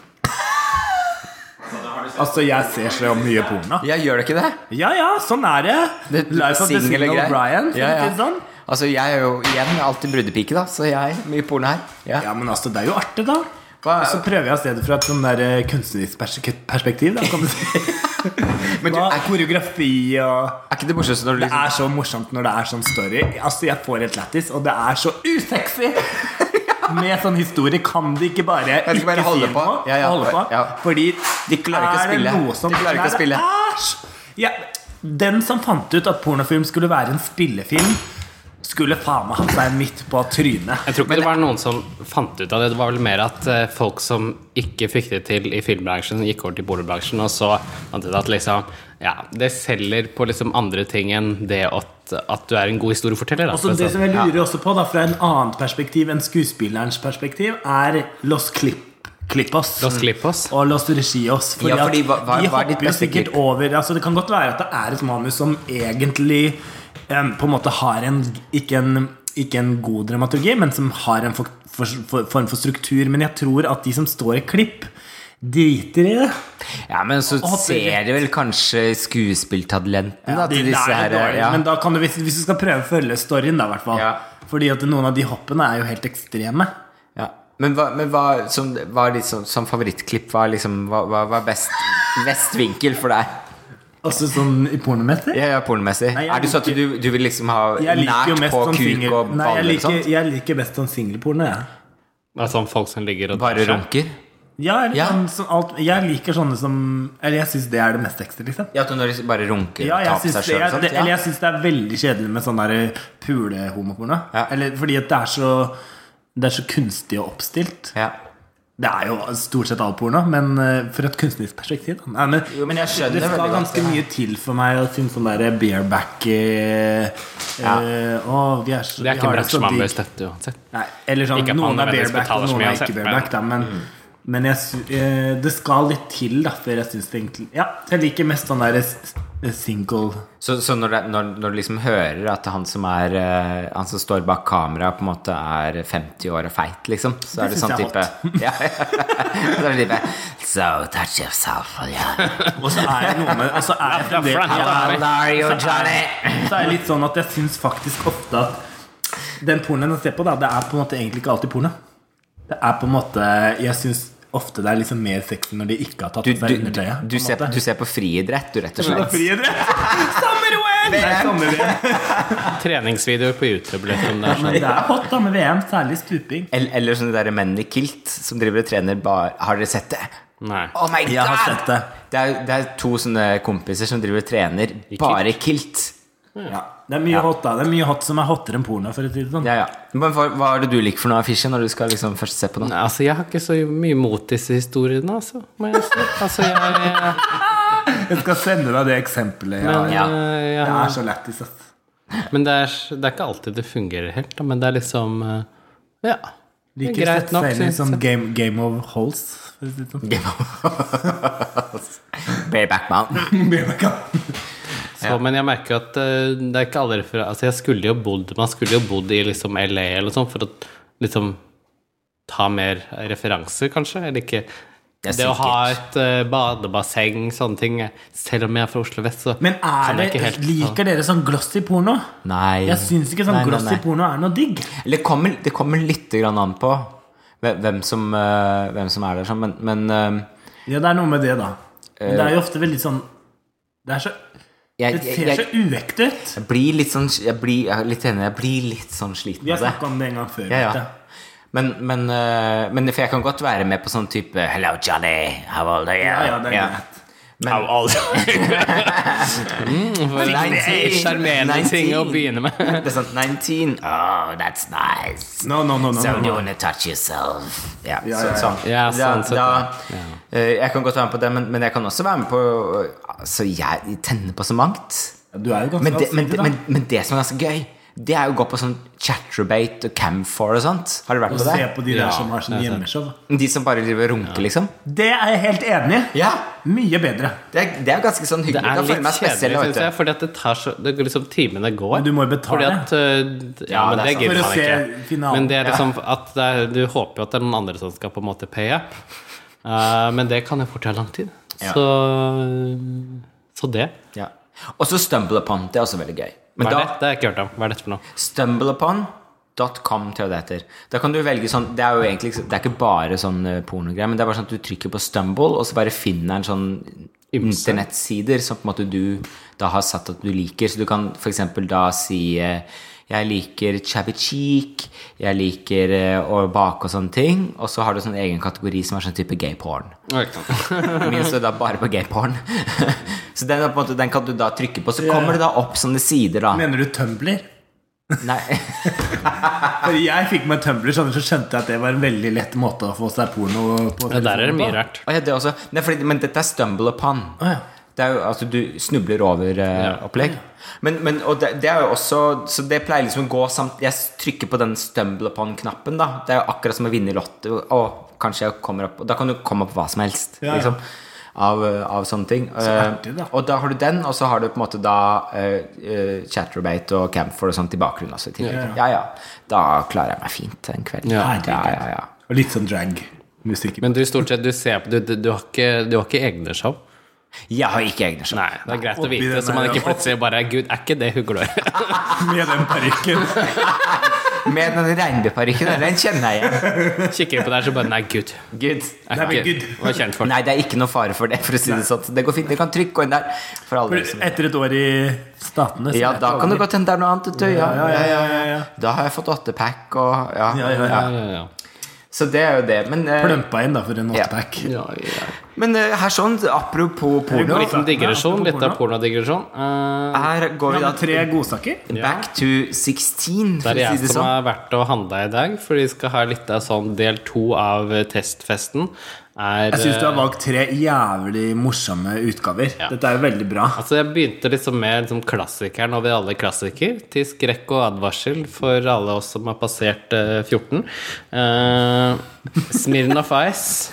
B: Altså, jeg ser så mye porno.
C: Ja, gjør du ikke det?
B: Ja ja, sånn er sånn det.
C: det
B: Life of the
C: single
B: single
C: greier.
B: Brian. for
C: Ja,
B: å si
C: ja.
B: det Sånn.
C: Altså, jeg er jo igjen alltid brudepike, da, så jeg mye porno her. Ja.
B: ja, men altså, det er jo artig, da.
C: Hva-
B: Og så prøver jeg i stedet fra et sånn der eh, kunstnerisk pers- perspektiv. Da, kan du si.
C: [laughs] Men du,
B: Hva-
C: er,
B: koreografi og
C: er ikke det morsomste når du
B: Det
C: liksom
B: er så morsomt når det er sånn story. Altså, Jeg får helt lættis, og det er så usexy!
C: [laughs]
B: Med sånn historie kan de ikke bare
C: de ikke bare holde
B: si
C: på?
B: noe,
C: Ja, ja,
B: holde på.
C: ja.
B: Fordi
C: De klarer ikke å
B: er det
C: spille.
B: noe som
C: De klarer ikke å
B: Nei,
C: spille.
B: æsj! Ja, den som fant ut at pornofilm skulle være en spillefilm, skulle faen meg hatt seg midt på trynet.
A: Jeg tror ikke det var noen som fant ut av det. Det var vel mer at eh, folk som ikke fikk det til i filmbransjen, gikk over til boligbransjen, og så fant ut at liksom Ja, det selger på liksom andre ting enn det at, at du er en god historieforteller. da,
B: Og så
A: for å si
B: Altså, det som jeg
A: sånn.
B: lurer også på, da, fra en annet perspektiv enn skuespillerens perspektiv, er Los Clip Clippos.
A: La oss klippe oss.
B: og Los Regios. Fordi,
C: Ja, fordi
B: at
C: hva- hva-
B: de
C: hva er ditt
B: hopper jo
C: beste
B: sikkert
C: klipp?
B: over altså, Det kan godt være at det er et manus som egentlig em, på en måte har en ikke, en ikke en god dramaturgi, men som har en for, for, for, form for struktur. Men jeg tror at de som står i klipp, driter i det.
C: Ja, men så
B: hopper
C: ser du vel kanskje skuespilltalentene da,
B: Det
C: til
B: er
C: disse her.
B: dårlig,
C: Ja.
B: Men da kan du, hvis, hvis du skal prøve å følge storyen, da, i hvert fall.
C: Ja.
B: Fordi at noen av de hoppene er jo helt ekstreme.
C: Ja. Men hva, men hva som, var liksom, som favorittklipp var liksom Hva hva var best, best vinkel for deg?
B: Også sånn i pornometer.
C: Ja, ja, pornomessig.
B: Nei, jeg
C: Er det sånn at du, du vil liksom ha
B: Jeg liker jo
C: nært
B: mest
C: på
B: sånn
C: kuk
B: single- Nei,
C: og
B: jeg
C: baller og
B: liker,
C: sånt?
B: jeg liker best sånn singelporno, jeg. Ja.
A: Altså folk som ligger og
C: Bare
A: tar seg.
C: runker?
B: Ja, eller
C: Ja.
B: Sånn, som alt, jeg liker sånne som Eller jeg syns det er det mest ekstra, liksom.
C: Ja, at du når de bare runker
B: Ja,
C: og
B: jeg
C: tar på
B: syns
C: seg
B: det,
C: sjøl og
B: jeg-
C: sånt?
B: det, eller
C: Ja.
B: jeg syns det er veldig kjedelig med sånn der pulehomoporno.
C: Ja.
B: Eller fordi at det er så Det er så kunstig og oppstilt.
C: Ja.
B: Det er jo stort sett all porno, men eh, for et kunstnerisk perspektiv. da. Nei, men,
C: Jo, men jeg skjønner
B: det skal
C: veldig godt
B: ganske
C: det.
B: mye til for meg å synes sånn derre bareback eh,
C: Ja.
B: eh, å, vi er så,
A: Det er
B: vi
A: ikke
B: har
A: en
B: det så
A: bransje man
B: digg.
A: bør støtte uansett.
B: Nei, eller sånn,
A: Ikke at man
B: noen er
A: nødvendigvis
B: bareback og
A: betaler så
B: noen
A: mye altså.
B: er
A: uansett,
B: ikke bareback, da, men,
C: Mm.
B: men jeg, sy- eh, det skal litt til da, før jeg syns det egentlig Ja, jeg liker mest sånn der s- single
C: Så, så når, det, når, når du liksom hører at han som, er, eh, han som står bak kamera, på en måte er 50 år og feit, liksom, så
B: Det
C: er det
B: synes
C: sånn
B: jeg
C: type ja, [laughs] Så er det type So touch yourself, yeah.
B: Og så er det noe med og så er det, det,
A: front,
B: [laughs] ja,
C: How are you, Johnny?
B: så er det litt sånn at jeg syns faktisk ofte at den pornoen jeg ser på, da, det er på en måte egentlig ikke alltid porno. Det er på en måte Jeg syns ofte det er liksom mer sexy når de ikke har tatt
C: Du,
B: på
C: du,
B: seg
C: du,
B: undertøyet.
C: du, ser, du ser på friidrett, du,
B: [laughs]
C: rett og slett.
B: Sommer-OL!
A: Treningsvideoer på YouTube. Liksom, det er sånn.
B: Men det er hot da med VM, særlig stuping.
C: Eller, eller sånne der menn i kilt som driver og trener bare Har dere sett det?
A: sånn- Nei.
C: Oh my god!
B: Jeg har sett det.
C: Det er, det er to sånne kompiser som driver og trener bare i kilt.
B: Ja, det er mye hot da Det er mye hot som er hottere enn porno. For å si det sånn.
C: Ja, ja. Men hva, hva er det du liker for noe av Fischer når du skal liksom først se på noe?
A: Nei, altså, jeg har ikke så mye mot disse historiene, altså. Må jeg si. Altså, jeg, jeg,
B: Jeg skal sende deg det eksempelet. Ja.
A: men,
C: Ja.
A: eh, jeg
B: Det er så lættis. ass.
A: Men det er, det er ikke alltid det fungerer helt, da, men det er liksom eh, Ja. Det er
B: Liker å
A: greit
B: sette
A: nok,
B: seg inn i
A: synes jeg.
B: sånn game, game of holes. For å si det sånn.
C: [laughs] Bareback Mountain.
A: Så, men jeg merker jo at eh, det er ikke alle referanser Altså, jeg skulle jo bodd Man skulle jo bodd i liksom LA eller sånn for å liksom ta mer referanser, kanskje, eller ikke
C: Ja,
A: det å
C: sikkert.
A: ha et eh, badebasseng, sånne ting eh, Selv om jeg er fra Oslo vest, så
B: Men er
A: kan
B: det,
A: jeg ikke helt ta- [laughs]
B: liker dere sånn glossy porno?
C: Nei.
B: Jeg syns ikke sånn
C: Mm. Nei, nei,
B: glossy
C: nei.
B: porno er noe digg.
C: Eller Det kommer, det kommer litt grann an på hvem hvem som, eh, hvem som er der, sånn, men, men eh,
B: Ja, det er noe med det, da. Men det er jo ofte veldig sånn Det, er så,
C: jeg,
B: det
C: Eh. jeg,
B: ser så
C: jeg,
B: uekte ut.
C: jeg blir litt sånn Jeg blir jeg er litt enig, jeg blir litt sånn sliten
B: Vi har
C: av det.
B: snakka om det en gang før.
C: Ja,
B: vet
C: ja.
B: jeg.
C: Men, men, eh, men for jeg kan godt være med på sånn type Hello, Johnny. How old are you?
B: Ja, ja, det er greit. Au,
C: [laughs]
B: aldri.
A: For en Sjarmerende ting å begynne med.
C: [laughs] Det er sånn 19. Oh, that's nice.
B: No, no, no, no,
C: So
B: no,
C: you
B: no.
C: wanna touch yourself. Ja,
B: Ja, ja,
C: så-
B: ja.
C: sånn.
A: Ja, sånn sett,
C: da,
A: ja.
C: eh, jeg kan godt være med på det, men, men jeg kan også være med på Så jeg tenner på så mangt.
B: Du er jo ganske
C: Men det, men,
B: allsidig, da.
C: men, men det som er ganske gøy, det er jo å gå på sånn chatterbate og camfor og sånt. Har du vært
B: Og
C: på
B: se
C: det?
B: på de
A: Ja,
B: der som har sånn
A: det er sant.
B: hjemmeshow.
C: De som bare driver og runker, liksom?
B: Det er jeg helt enig i.
C: Ja!
B: Mye bedre.
C: Det er, det er jo ganske sånn
A: Det
C: hyggelig.
A: er
C: Da
A: litt
C: føler jeg
A: kjedelig,
C: meg spesiell.
A: synes
C: Vet du.
A: jeg, fordi at det tar så det, går liksom Timene går.
B: Men du må jo betale.
A: Fordi at, øh, ja,
C: Ja,
A: men
C: det er
A: det
C: sant.
A: gidder
B: For å
A: man
B: se
A: ikke.
B: finalen.
A: Men det er liksom at det er, du håper jo at det er noen andre som skal på en måte pay up. Eh, men det kan jo fort ta lang tid.
C: Ja.
A: Så, så det.
C: Ja. Og så Stumble Upon. Det er også veldig gøy.
A: Hva
C: Men
A: er
C: da,
A: det? Det har jeg ikke hørt om. Hva er dette for noe?
C: Stumbleupon.com tror jeg det heter. Da kan du velge sånn Det er jo egentlig ikke- det er ikke bare sånn eh, pornogreier, men det er bare sånn at du trykker på Stumble, og så bare finner en sånn
A: Ymse.
C: internettsider som på en måte du da har satt at du liker. Så du kan f.eks. da si eh, jeg liker chabby cheek, jeg liker eh, å bake og sånne ting. Og så har du sånn egen kategori som er sånn type gay porn. Min står da bare på gay porn. [laughs] så den, er på en måte, den kan du da trykke på. Så kommer det da opp sånne sider, da.
B: Mener du Tumbler?
C: Nei
B: For jeg fikk meg Tumbler, sånn, så skjønte jeg at det var en veldig lett måte å få seg porno på.
A: Ja, der er det mye rart.
C: Å ja, det også. Nei, fordi, men dette er stumble upon.
B: Å ja.
C: Det er jo, altså, du snubler over eh, opplegg. Men, men, og det, det er jo også Så det pleier liksom å gå samt Jeg trykker på den stumble upon-knappen. da Det er jo akkurat som å vinne i Lotto. Og kanskje jeg kommer opp og Da kan du komme opp hva som helst.
B: Ja, ja.
C: Liksom, av, eh, av sånne ting.
B: artig, da.
C: Eh, og da har du den, og så har du på en måte da eh, eh, Chatterbate og Campfor og sånt i bakgrunnen også. i tillegg.
B: Ja, ja.
C: ja, ja. Da klarer jeg meg fint en kveld.
A: Ja.
C: ja, ja, ja.
B: Og litt sånn drag-musikk. [laughs]
A: Men du stort sett, du ser på du, du, du, har ikke, du har ikke egne show?
C: Jeg har ikke egne show.
A: Nei, det er greit å
B: Oppi
A: vite,
B: den
A: så man
B: her,
A: ikke
B: ja.
A: plutselig bare Gud, er ikke det hun glør i?
B: Med den parykken.
C: Med den regnbueparykken, den kjenner jeg igjen.
A: [laughs] Kikker på deg, så bare Nei, Gud.
C: Gud.
A: Er
B: Nei, men
A: ikke,
B: Gud.
A: var kjentfolk.
C: Nei, det er ikke noe fare for det. For å si det sånn Det går fint. Du kan trykke gå inn der. For alle dere som
B: Etter et år i Statene. så
C: Ja,
B: er det
C: da kan det
B: aldri-
C: godt hende det er noe annet. vet Du. Ja,
B: ja, ja, ja, ja, ja.
C: Da har jeg fått åttepack og
B: Ja,
C: ja.
B: ja, ja.
A: Ja, ja, ja.
C: Så det er jo det. Men, eh,
B: Plømpa inn da for en åttepack.
A: Ja, ja.
C: men eh, her sånn, apropos porno
A: Litt om digresjon, litt av pornodigresjon. Eh,
C: Her går
B: Ja,
C: vi da
B: men tre godsaker.
C: back to 16,
A: Det
C: for
A: er
C: å si
A: jeg
C: det
A: som
C: sånn.
A: har vært og handla i dag, for vi skal ha litt av sånn del to av eh, testfesten. Er,
B: Jeg syns du har
A: eh,
B: valgt tre jævlig morsomme utgaver.
A: Ja.
B: Dette er jo veldig bra.
A: Altså Jeg begynte liksom med liksom klassikeren over alle klassiker, til skrekk og advarsel for alle oss som har passert eh, 14. Uh, Smirnoff Ice.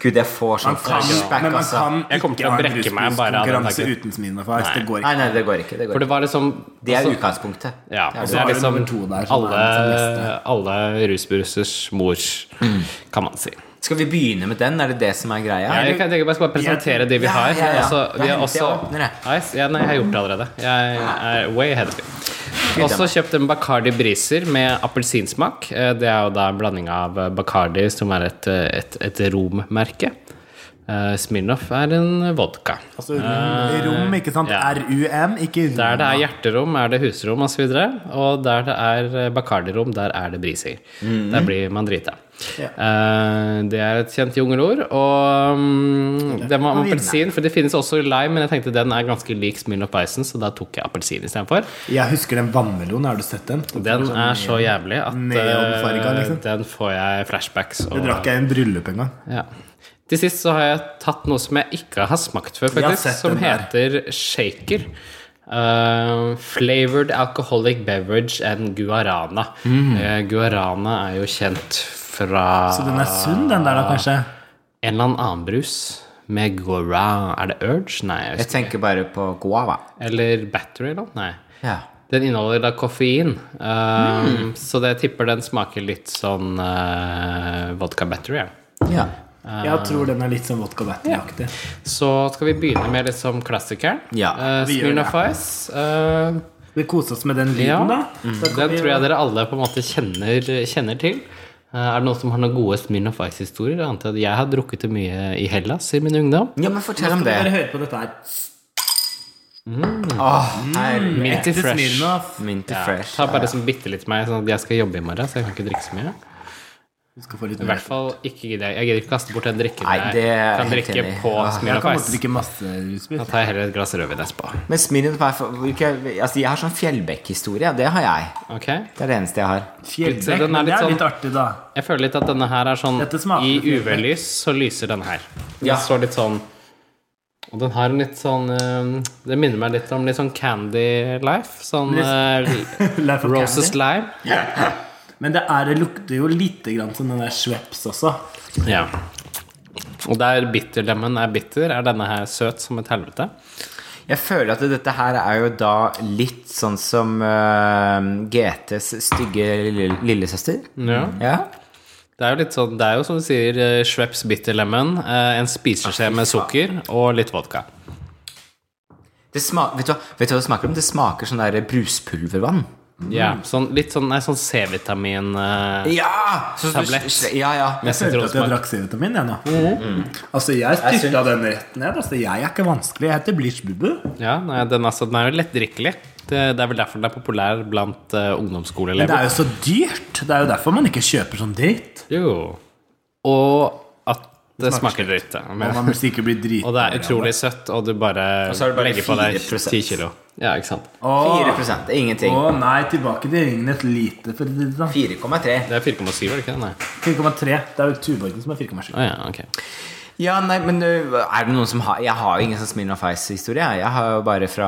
C: Gud, jeg får sånn
B: Man kan,
C: flashback,
B: men man
C: altså.
B: kan
A: Jeg kommer til
B: ikke
A: å
B: ha en
A: brekke meg bare av den
B: rusbruskonkurranse
A: tanken.
B: uten smileface. Det går
C: Nei,
B: ikke.
C: nei, det går ikke. Det,
A: For
C: går
A: det
C: ikke.
A: var liksom
C: det er
A: altså,
C: utgangspunktet.
A: Ja,
C: Det er
A: og
C: det.
A: så
B: har
A: er
B: du
A: liksom
B: nummer to der, som
A: alle,
B: er
C: liksom
B: den
A: alle rusbrusers mor,
C: Mm.
A: kan man si.
C: Skal vi begynne med den? Er det det som er greia?
A: Ja, jeg kan tenke meg bare presentere de vi
C: Ja,
A: har.
C: ja, ja.
A: Altså,
C: Da
A: vi har
C: henter
A: også
C: jeg åpner, jeg.
A: Ice? Ja, nei, jeg har gjort det allerede. Jeg er way ahead of you. Også kjøpt en Bacardi Briser med appelsinsmak. Eh, Det er jo da en blanding av eh, Bacardi, som er et, eh, et, et rommerke. Eh, Smirnoff er en vodka.
B: Altså, rom- rom, ikke sant?
A: Eh, ja.
B: RUM, ikke rom.
A: Der det er hjerterom, er det husrom osv. Og, så videre. og der det er eh, Bacardi-rom, der er det briser.
B: Mhm.
A: Der blir man drita. Eh, det er et kjent jungelord. Og mm, det var
B: Og vinner.
A: appelsin, for det finnes også lime, men jeg tenkte den er ganske lik Smirnoff Bison, så da tok jeg appelsin istedenfor.
B: Jeg husker den vannmelonen. Har du sett den?
A: Den er så jævlig at
B: sånn neonfarga,
A: eh,
B: liksom.
A: den får jeg flashbacks.
B: Det
A: Og,
B: drakk jeg i en bryllup en gang.
A: ja. Til sist så har jeg tatt noe som jeg ikke har smakt før,
B: Jeg har
A: faktisk,
B: sett
A: som
B: den der.
A: heter shaker. Eh, flavored alcoholic beverage and guarana. Eh, guarana er jo kjent fra
B: Mm. Så den er sunn, den der, da,
A: Ah.
B: kanskje?
A: en eller annen brus med guara Er det Urge? Nei. Jeg
C: Jeg
A: husker.
C: tenker bare på guava.
A: Eller Battery eller noe? Nei.
C: Ja.
A: Den inneholder da koffein, eh,
B: Mm.
A: så det tipper den smaker litt sånn eh, vodka battery. Ja.
C: ja.
A: Ah.
B: Jeg tror den er litt sånn vodka battery-aktig.
A: Så skal vi begynne med liksom klassikeren.
C: Ja,
A: Eh,
B: vi gjør
A: Smirnoff Ice. eh,
B: Vi koser oss med den
A: ja. Mm.
B: lyden, da. Så
A: Den
B: kan vi-
A: tror jeg dere alle på en måte kjenner, kjenner til. Eh, er det noen som har noen gode Smirnoff Ice-historier? Jeg antar at Jeg har drukket det mye i Hellas i min ungdom.
C: ja, men fortell om
B: Skal vi
C: det.
B: bare høre på dette her.
C: Åh, herlig.
A: Minty
B: Til
A: Fresh.
B: Smirnoff.
C: Minty
A: Ja,
C: fresh.
A: sånn ta bare som bitte litt meg, sånn at jeg skal jobbe i morgen, så jeg kan ikke drikke så mye.
B: Du skal få litt
A: I
B: mer.
A: hvert fall ikke gidder jeg. Jeg gidder ikke kaste bort den drikken
C: Nei, det er
A: jeg
C: jeg
A: kan
C: helt
A: drikke
C: enig i.
A: på
C: Ja.
A: Smil
B: Jeg
A: og
B: kan måtte
A: Fais.
B: drikke masse rusbrus.
A: Da tar jeg heller et glass rødvin etterpå.
C: Men Sminion er for- hvilke, altså Jeg har sånn Fjellbekk-historie. Det har jeg.
A: Ok?
C: Det er det eneste jeg har.
B: Fjellbekk,
A: Så den er
B: men det
A: litt
B: er
A: sånn-
B: litt artig, da.
A: Jeg føler litt at denne her er sånn
B: Dette smaker
A: I
B: litt
A: UV-lys så lyser den her. Den
C: Ja.
A: står litt sånn Og den har en litt sånn eh, Det minner meg litt om litt sånn Candy Life. Sånn
B: [laughs]
A: eh,
B: Life of
A: Roses
B: Candy.
A: Lime.
B: Men det, er, det lukter jo lite grann som den der Schweppes også.
A: Ja. Og der bitterlemmen er bitter, er denne her søt som et helvete.
C: Jeg føler at dette her er jo da litt sånn som eh, GTs stygge lille, lillesøster.
A: Ja.
C: Ja.
A: Det er jo litt sånn, det er jo som du sier, eh, Schweppes bitterlemmen, eh, en spiseskje med sukker og litt vodka.
C: Det sma- vet, du, hva- vet du hva det smaker om? Det smaker sånn der bruspulvervann.
A: Ja,
B: Mm.
A: sånn, litt sånn, nei, sånn C-vitamin eh,
C: Ja! Så, så,
A: Tablett.
C: sle- ja, ja.
A: med
B: Jeg følte at jeg
A: sitronsmak.
B: drakk C-vitamin, jeg nå.
A: Mhm.
B: Altså, jeg styrta den rett ned. Altså, jeg er ikke vanskelig. Jeg heter Blitz Bubu.
A: Ja, nei, den, altså, den er jo lettdrikkelig. Det, det er vel derfor den er populær blant eh,
B: Men det
A: ungdomsskoleelever.
B: er jo så dyrt. Det er jo derfor man ikke kjøper sånn dritt.
A: Jo. Og at det smaker dritt. ja.
B: Og
A: Men,
B: man blir sikkert blir drit.
A: [laughs] og det er utrolig søtt, og du bare,
C: så er det bare
A: legger på deg
C: 4%.
A: 10 kilo. Ja, ikke sant.
B: Å
C: 4 det er ingenting.
B: å nei, tilbake til Ringnes lite. for å si det sånn.
C: 4,3.
A: Det er 4,7, er det ikke det? Nei.
B: 4,3. Det er jo Tuborgen som er 4,7.
A: Å ja, ok.
C: Ja, nei, men ø, er det noen som har Jeg har jo ingen sånn Smirnoff Ice-historie. jeg. Jeg har jo bare fra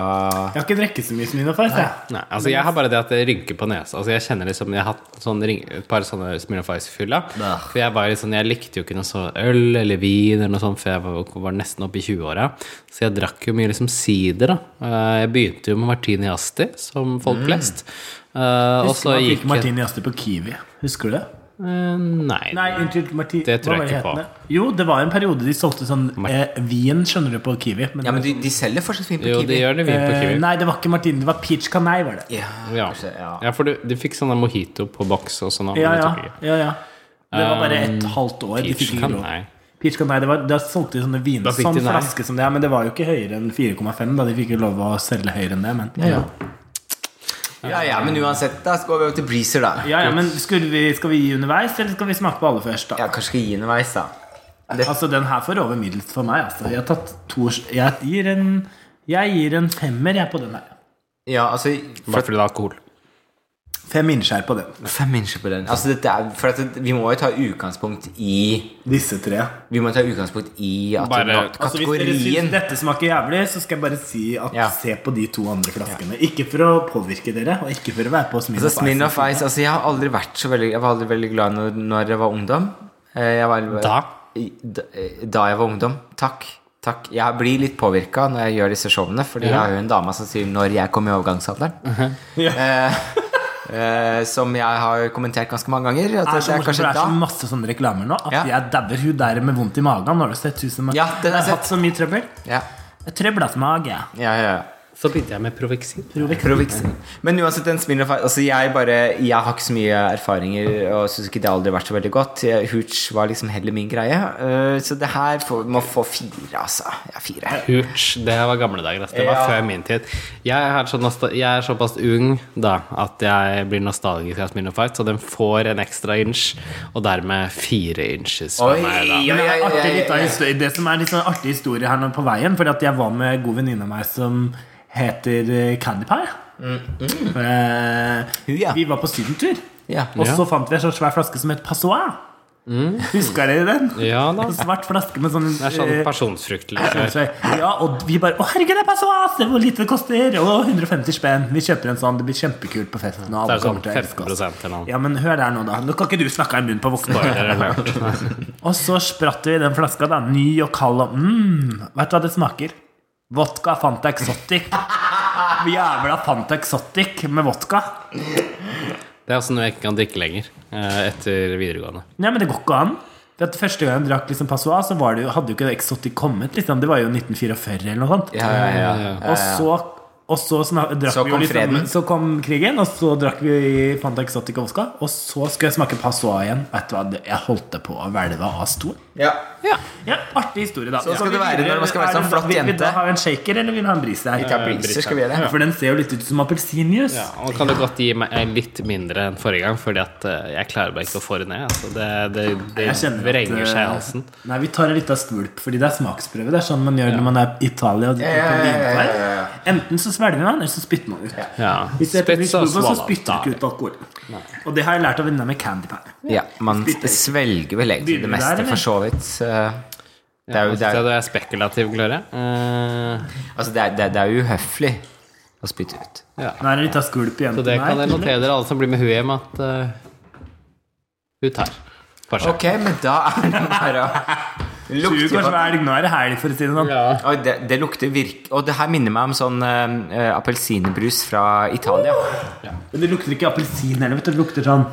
B: Jeg har ikke drukket så mye som Nino Feist, jeg.
A: Nei, altså Jeg har bare det at det rynker på nesa. Altså Jeg kjenner liksom Jeg har hatt sånn ring, et par sånne Smirnoff Ice-fylla.
C: Bah.
A: For jeg var litt sånn Jeg likte jo ikke noe så øl eller vin eller noe sånt før jeg var, var nesten oppe i 20-åra. Så jeg drakk jo mye liksom sider, da. Eh, Jeg begynte jo med Martini Asti, som folk flest. Eh, og
B: Mm. Husker
A: så
B: man
A: gikk
B: fikk
A: jeg
B: Martini Astrup på Kiwi. Husker du det?
A: Eh, Nei.
B: Nei, unnskyld. Marti-
A: Det tror
B: hva
A: jeg ikke
B: var
A: på.
B: hetende? Jo, det var en periode de solgte sånn eh, vin, skjønner du, på Kiwi. Men,
C: Ja, men de, de selger fortsatt vin på
A: Jo,
C: Kiwi.
A: det gjør det vin på
B: eh,
A: Kiwi.
B: nei, det var ikke Martini, det var Peach Canai, var det.
C: Ja,
A: Ja.
C: kanskje, ja.
A: ja, for du, de fikk sånne mojito på boks og sånn. og
B: Ja,
A: det
B: ja,
A: tok jeg ikke.
B: ja, ja. Det var bare et halvt år. de
A: Peach
B: fikk ikke
A: Canai.
B: lov. Peach Canai, det var, Da solgte de sånne viner,
A: Da fikk
B: sånn
A: de nei.
B: flaske som det er, men det var jo ikke høyere enn 4,5. da De fikk jo lov å selge høyere enn det. Men, ja, ja.
C: ja, ja, men uansett, da skal vi over til Breezer, da.
B: ja, men skulle vi, skal vi gi underveis, eller skal vi smake på alle først? da?
C: Ja, kanskje skal gi underveis, da. Det,
B: Altså, Den her får over middels for meg. altså. Jeg har tatt to Jeg gir en, jeg gir en femmer jeg på den her.
C: ja, altså
A: Bare fordi det er alkohol.
B: Fem innskjær på den.
C: Fem mennesker på den. Altså, dette er, for at det, vi må jo ta utgangspunkt i
B: Disse tre.
C: Vi må ta utgangspunkt i at
A: Bare-
C: at
B: Altså, hvis dere
C: kategorien
B: syns dette smaker jævlig, så skal jeg bare si at
C: Ja.
B: se på de to andre flaskene. Ikke for å påvirke dere, og ikke for å være på
C: Altså,
B: Smirnoff
C: Smirnoff Ice altså, Jeg har aldri vært så veldig Jeg var aldri veldig glad når, når jeg var ungdom. Eh, Jeg var,
A: Da?
C: I- da? eh, Da jeg var ungdom. Takk. Takk. Jeg blir litt påvirka når jeg gjør disse showene, fordi jeg har jo en dame som sier 'når jeg kom i overgangsalderen'. eh, eh, som jeg har kommentert ganske mange ganger.
B: Det
C: At
B: er så
C: det Ah,
B: morsomt,
C: er
B: for
C: kanskje
B: det er så
C: da
B: masse sånne reklamer nå at
C: Ja.
B: jeg dauer hun der med vondt i magen. Har du sett tusen
C: Ja, den har
B: Jeg
C: jeg
B: har hatt så mye trøbbel.
C: ja.
B: Trøblet mage.
C: Ja, ja, ja.
A: Så begynte jeg med Provexin.
C: Provix. Men uansett, den Smirnoff Ice altså jeg, bare, jeg har ikke så mye erfaringer og syns ikke det har aldri vært så veldig godt. Jeg- Hooch var liksom heller min greie. Eh, så det her får, må få fire, altså. Ja, fire.
A: Hooch, det var gamle dager. ass. Det var
C: Ja.
A: før min tid. Jeg er, så nosta- jeg er såpass ung da at jeg blir nostalgisk av Smirnoff Fight, så den får en ekstra inch, og dermed fire inches for
C: Oi,
A: meg. da
C: Ja,
B: Men det,
C: ja,
B: er
C: ja,
B: artig,
C: ja,
B: litt av
C: ja.
B: historie, det som er litt sånn artig historie her nå på veien, fordi at jeg var med en god venninne av meg som heter eh, Candy Pie.
C: Mm,
B: Eh,
C: Hun, ja.
B: Vi var på sydentur,
C: Ja.
B: og
A: Ja.
B: så fant vi en sånn svær flaske som het Passoir. Husker dere den?
A: Ja da.
B: En svart flaske med sånn,
A: Det er sånn
B: eh,
A: personsfrukt.
B: Kanskje.
A: Liksom.
B: Ja, og vi bare Å, herregud, det er Passoir! Se hvor lite det koster! Og 150 spenn. Vi kjøper en sånn. Det blir kjempekult på festen. Og
A: Det
B: alle
A: er sånn
B: kommer til å elske
A: 15
B: oss.
A: eller noe.
B: Ja, men hør der nå, da. Nå kan ikke du snakke i munnen på voksne.
A: Spoiler alert.
B: Og så spratt vi den flaska, da. Ny og kald og mm. Vet du hva det smaker? Vodka Fanta Exotic. Jævla Fanta Exotic med vodka.
A: Det er også noe jeg ikke kan drikke lenger eh, etter videregående.
B: Nei, men det går ikke an. For at Første gang jeg drakk liksom Passoir, så var det jo, hadde jo ikke Exotic kommet. Liksom. Det var jo 1944 eller noe sånt.
C: Ja, ja, ja.
A: Ja, ja.
B: Og så Og så snak, drakk
C: Så
B: vi jo
C: kom
B: litt
C: freden.
B: sammen. Så kom krigen, og så drakk vi Fanta Exotica Vodka. Og så skulle jeg smake Passoa igjen. Vet du hva, det- jeg holdt det på å hvelve av stolen.
C: Ja.
A: Ja.
B: Ja, artig historie, da.
C: Så skal
B: Ja.
C: det være når man skal være sånn
B: Er det-
C: flott
B: vil- Vil
C: jente.
B: du ha en shaker, eller vil du ha en bris der?
C: Vi tar briser, skal vi gjøre det?
B: For den ser jo litt ut som appelsinjuice.
A: Ja, og kan du godt gi meg eh, litt mindre enn forrige gang, fordi at eh, jeg klarer bare ikke å få det ned. Altså, det det, det
B: Jeg kjenner at,
A: vrenger seg i
B: eh,
A: halsen.
B: Nei, vi tar en liten skvulp, fordi det er smaksprøve. Det er sånn man gjør når man er i Italia. Og
C: ja, ja, ja, ja, ja.
B: Enten så svelger man, eller så spytter man ut.
A: Ja.
B: Hvis det heter
A: Spytt
B: British
A: og
B: Bourbon, så
A: swallow.
B: spytter du ikke ut alkohol. Og det har jeg lært av venninna med Candy Pie.
C: ja. Man svelger vel egentlig
B: Begynner du der,
C: det meste,
B: eller? altså,
C: for så vidt. så- Det er
A: Ja,
C: jo,
A: nå
C: det
A: synes jeg
C: er,
A: du er spekulativ, Gloria. Eh,
C: altså, det er, det er, det er jo uhøflig å spytte ut.
A: ja.
B: Nå er det en liten skvulp igjen
A: Så det kan dere notere dere, alle som blir med huet hjem, at eh, hun tar. Fortsett.
C: Ok, men da er det bare
B: [laughs]
C: å lukte
B: Sug og
C: på
B: svelg. Nå er det helg, for å si det sånn.
A: Ja.
C: Oi, det, det lukter virk... Og det her minner meg om sånn eh, eh, appelsinbrus fra Italia.
B: Men det lukter ikke appelsin heller, vet du. Det lukter sånn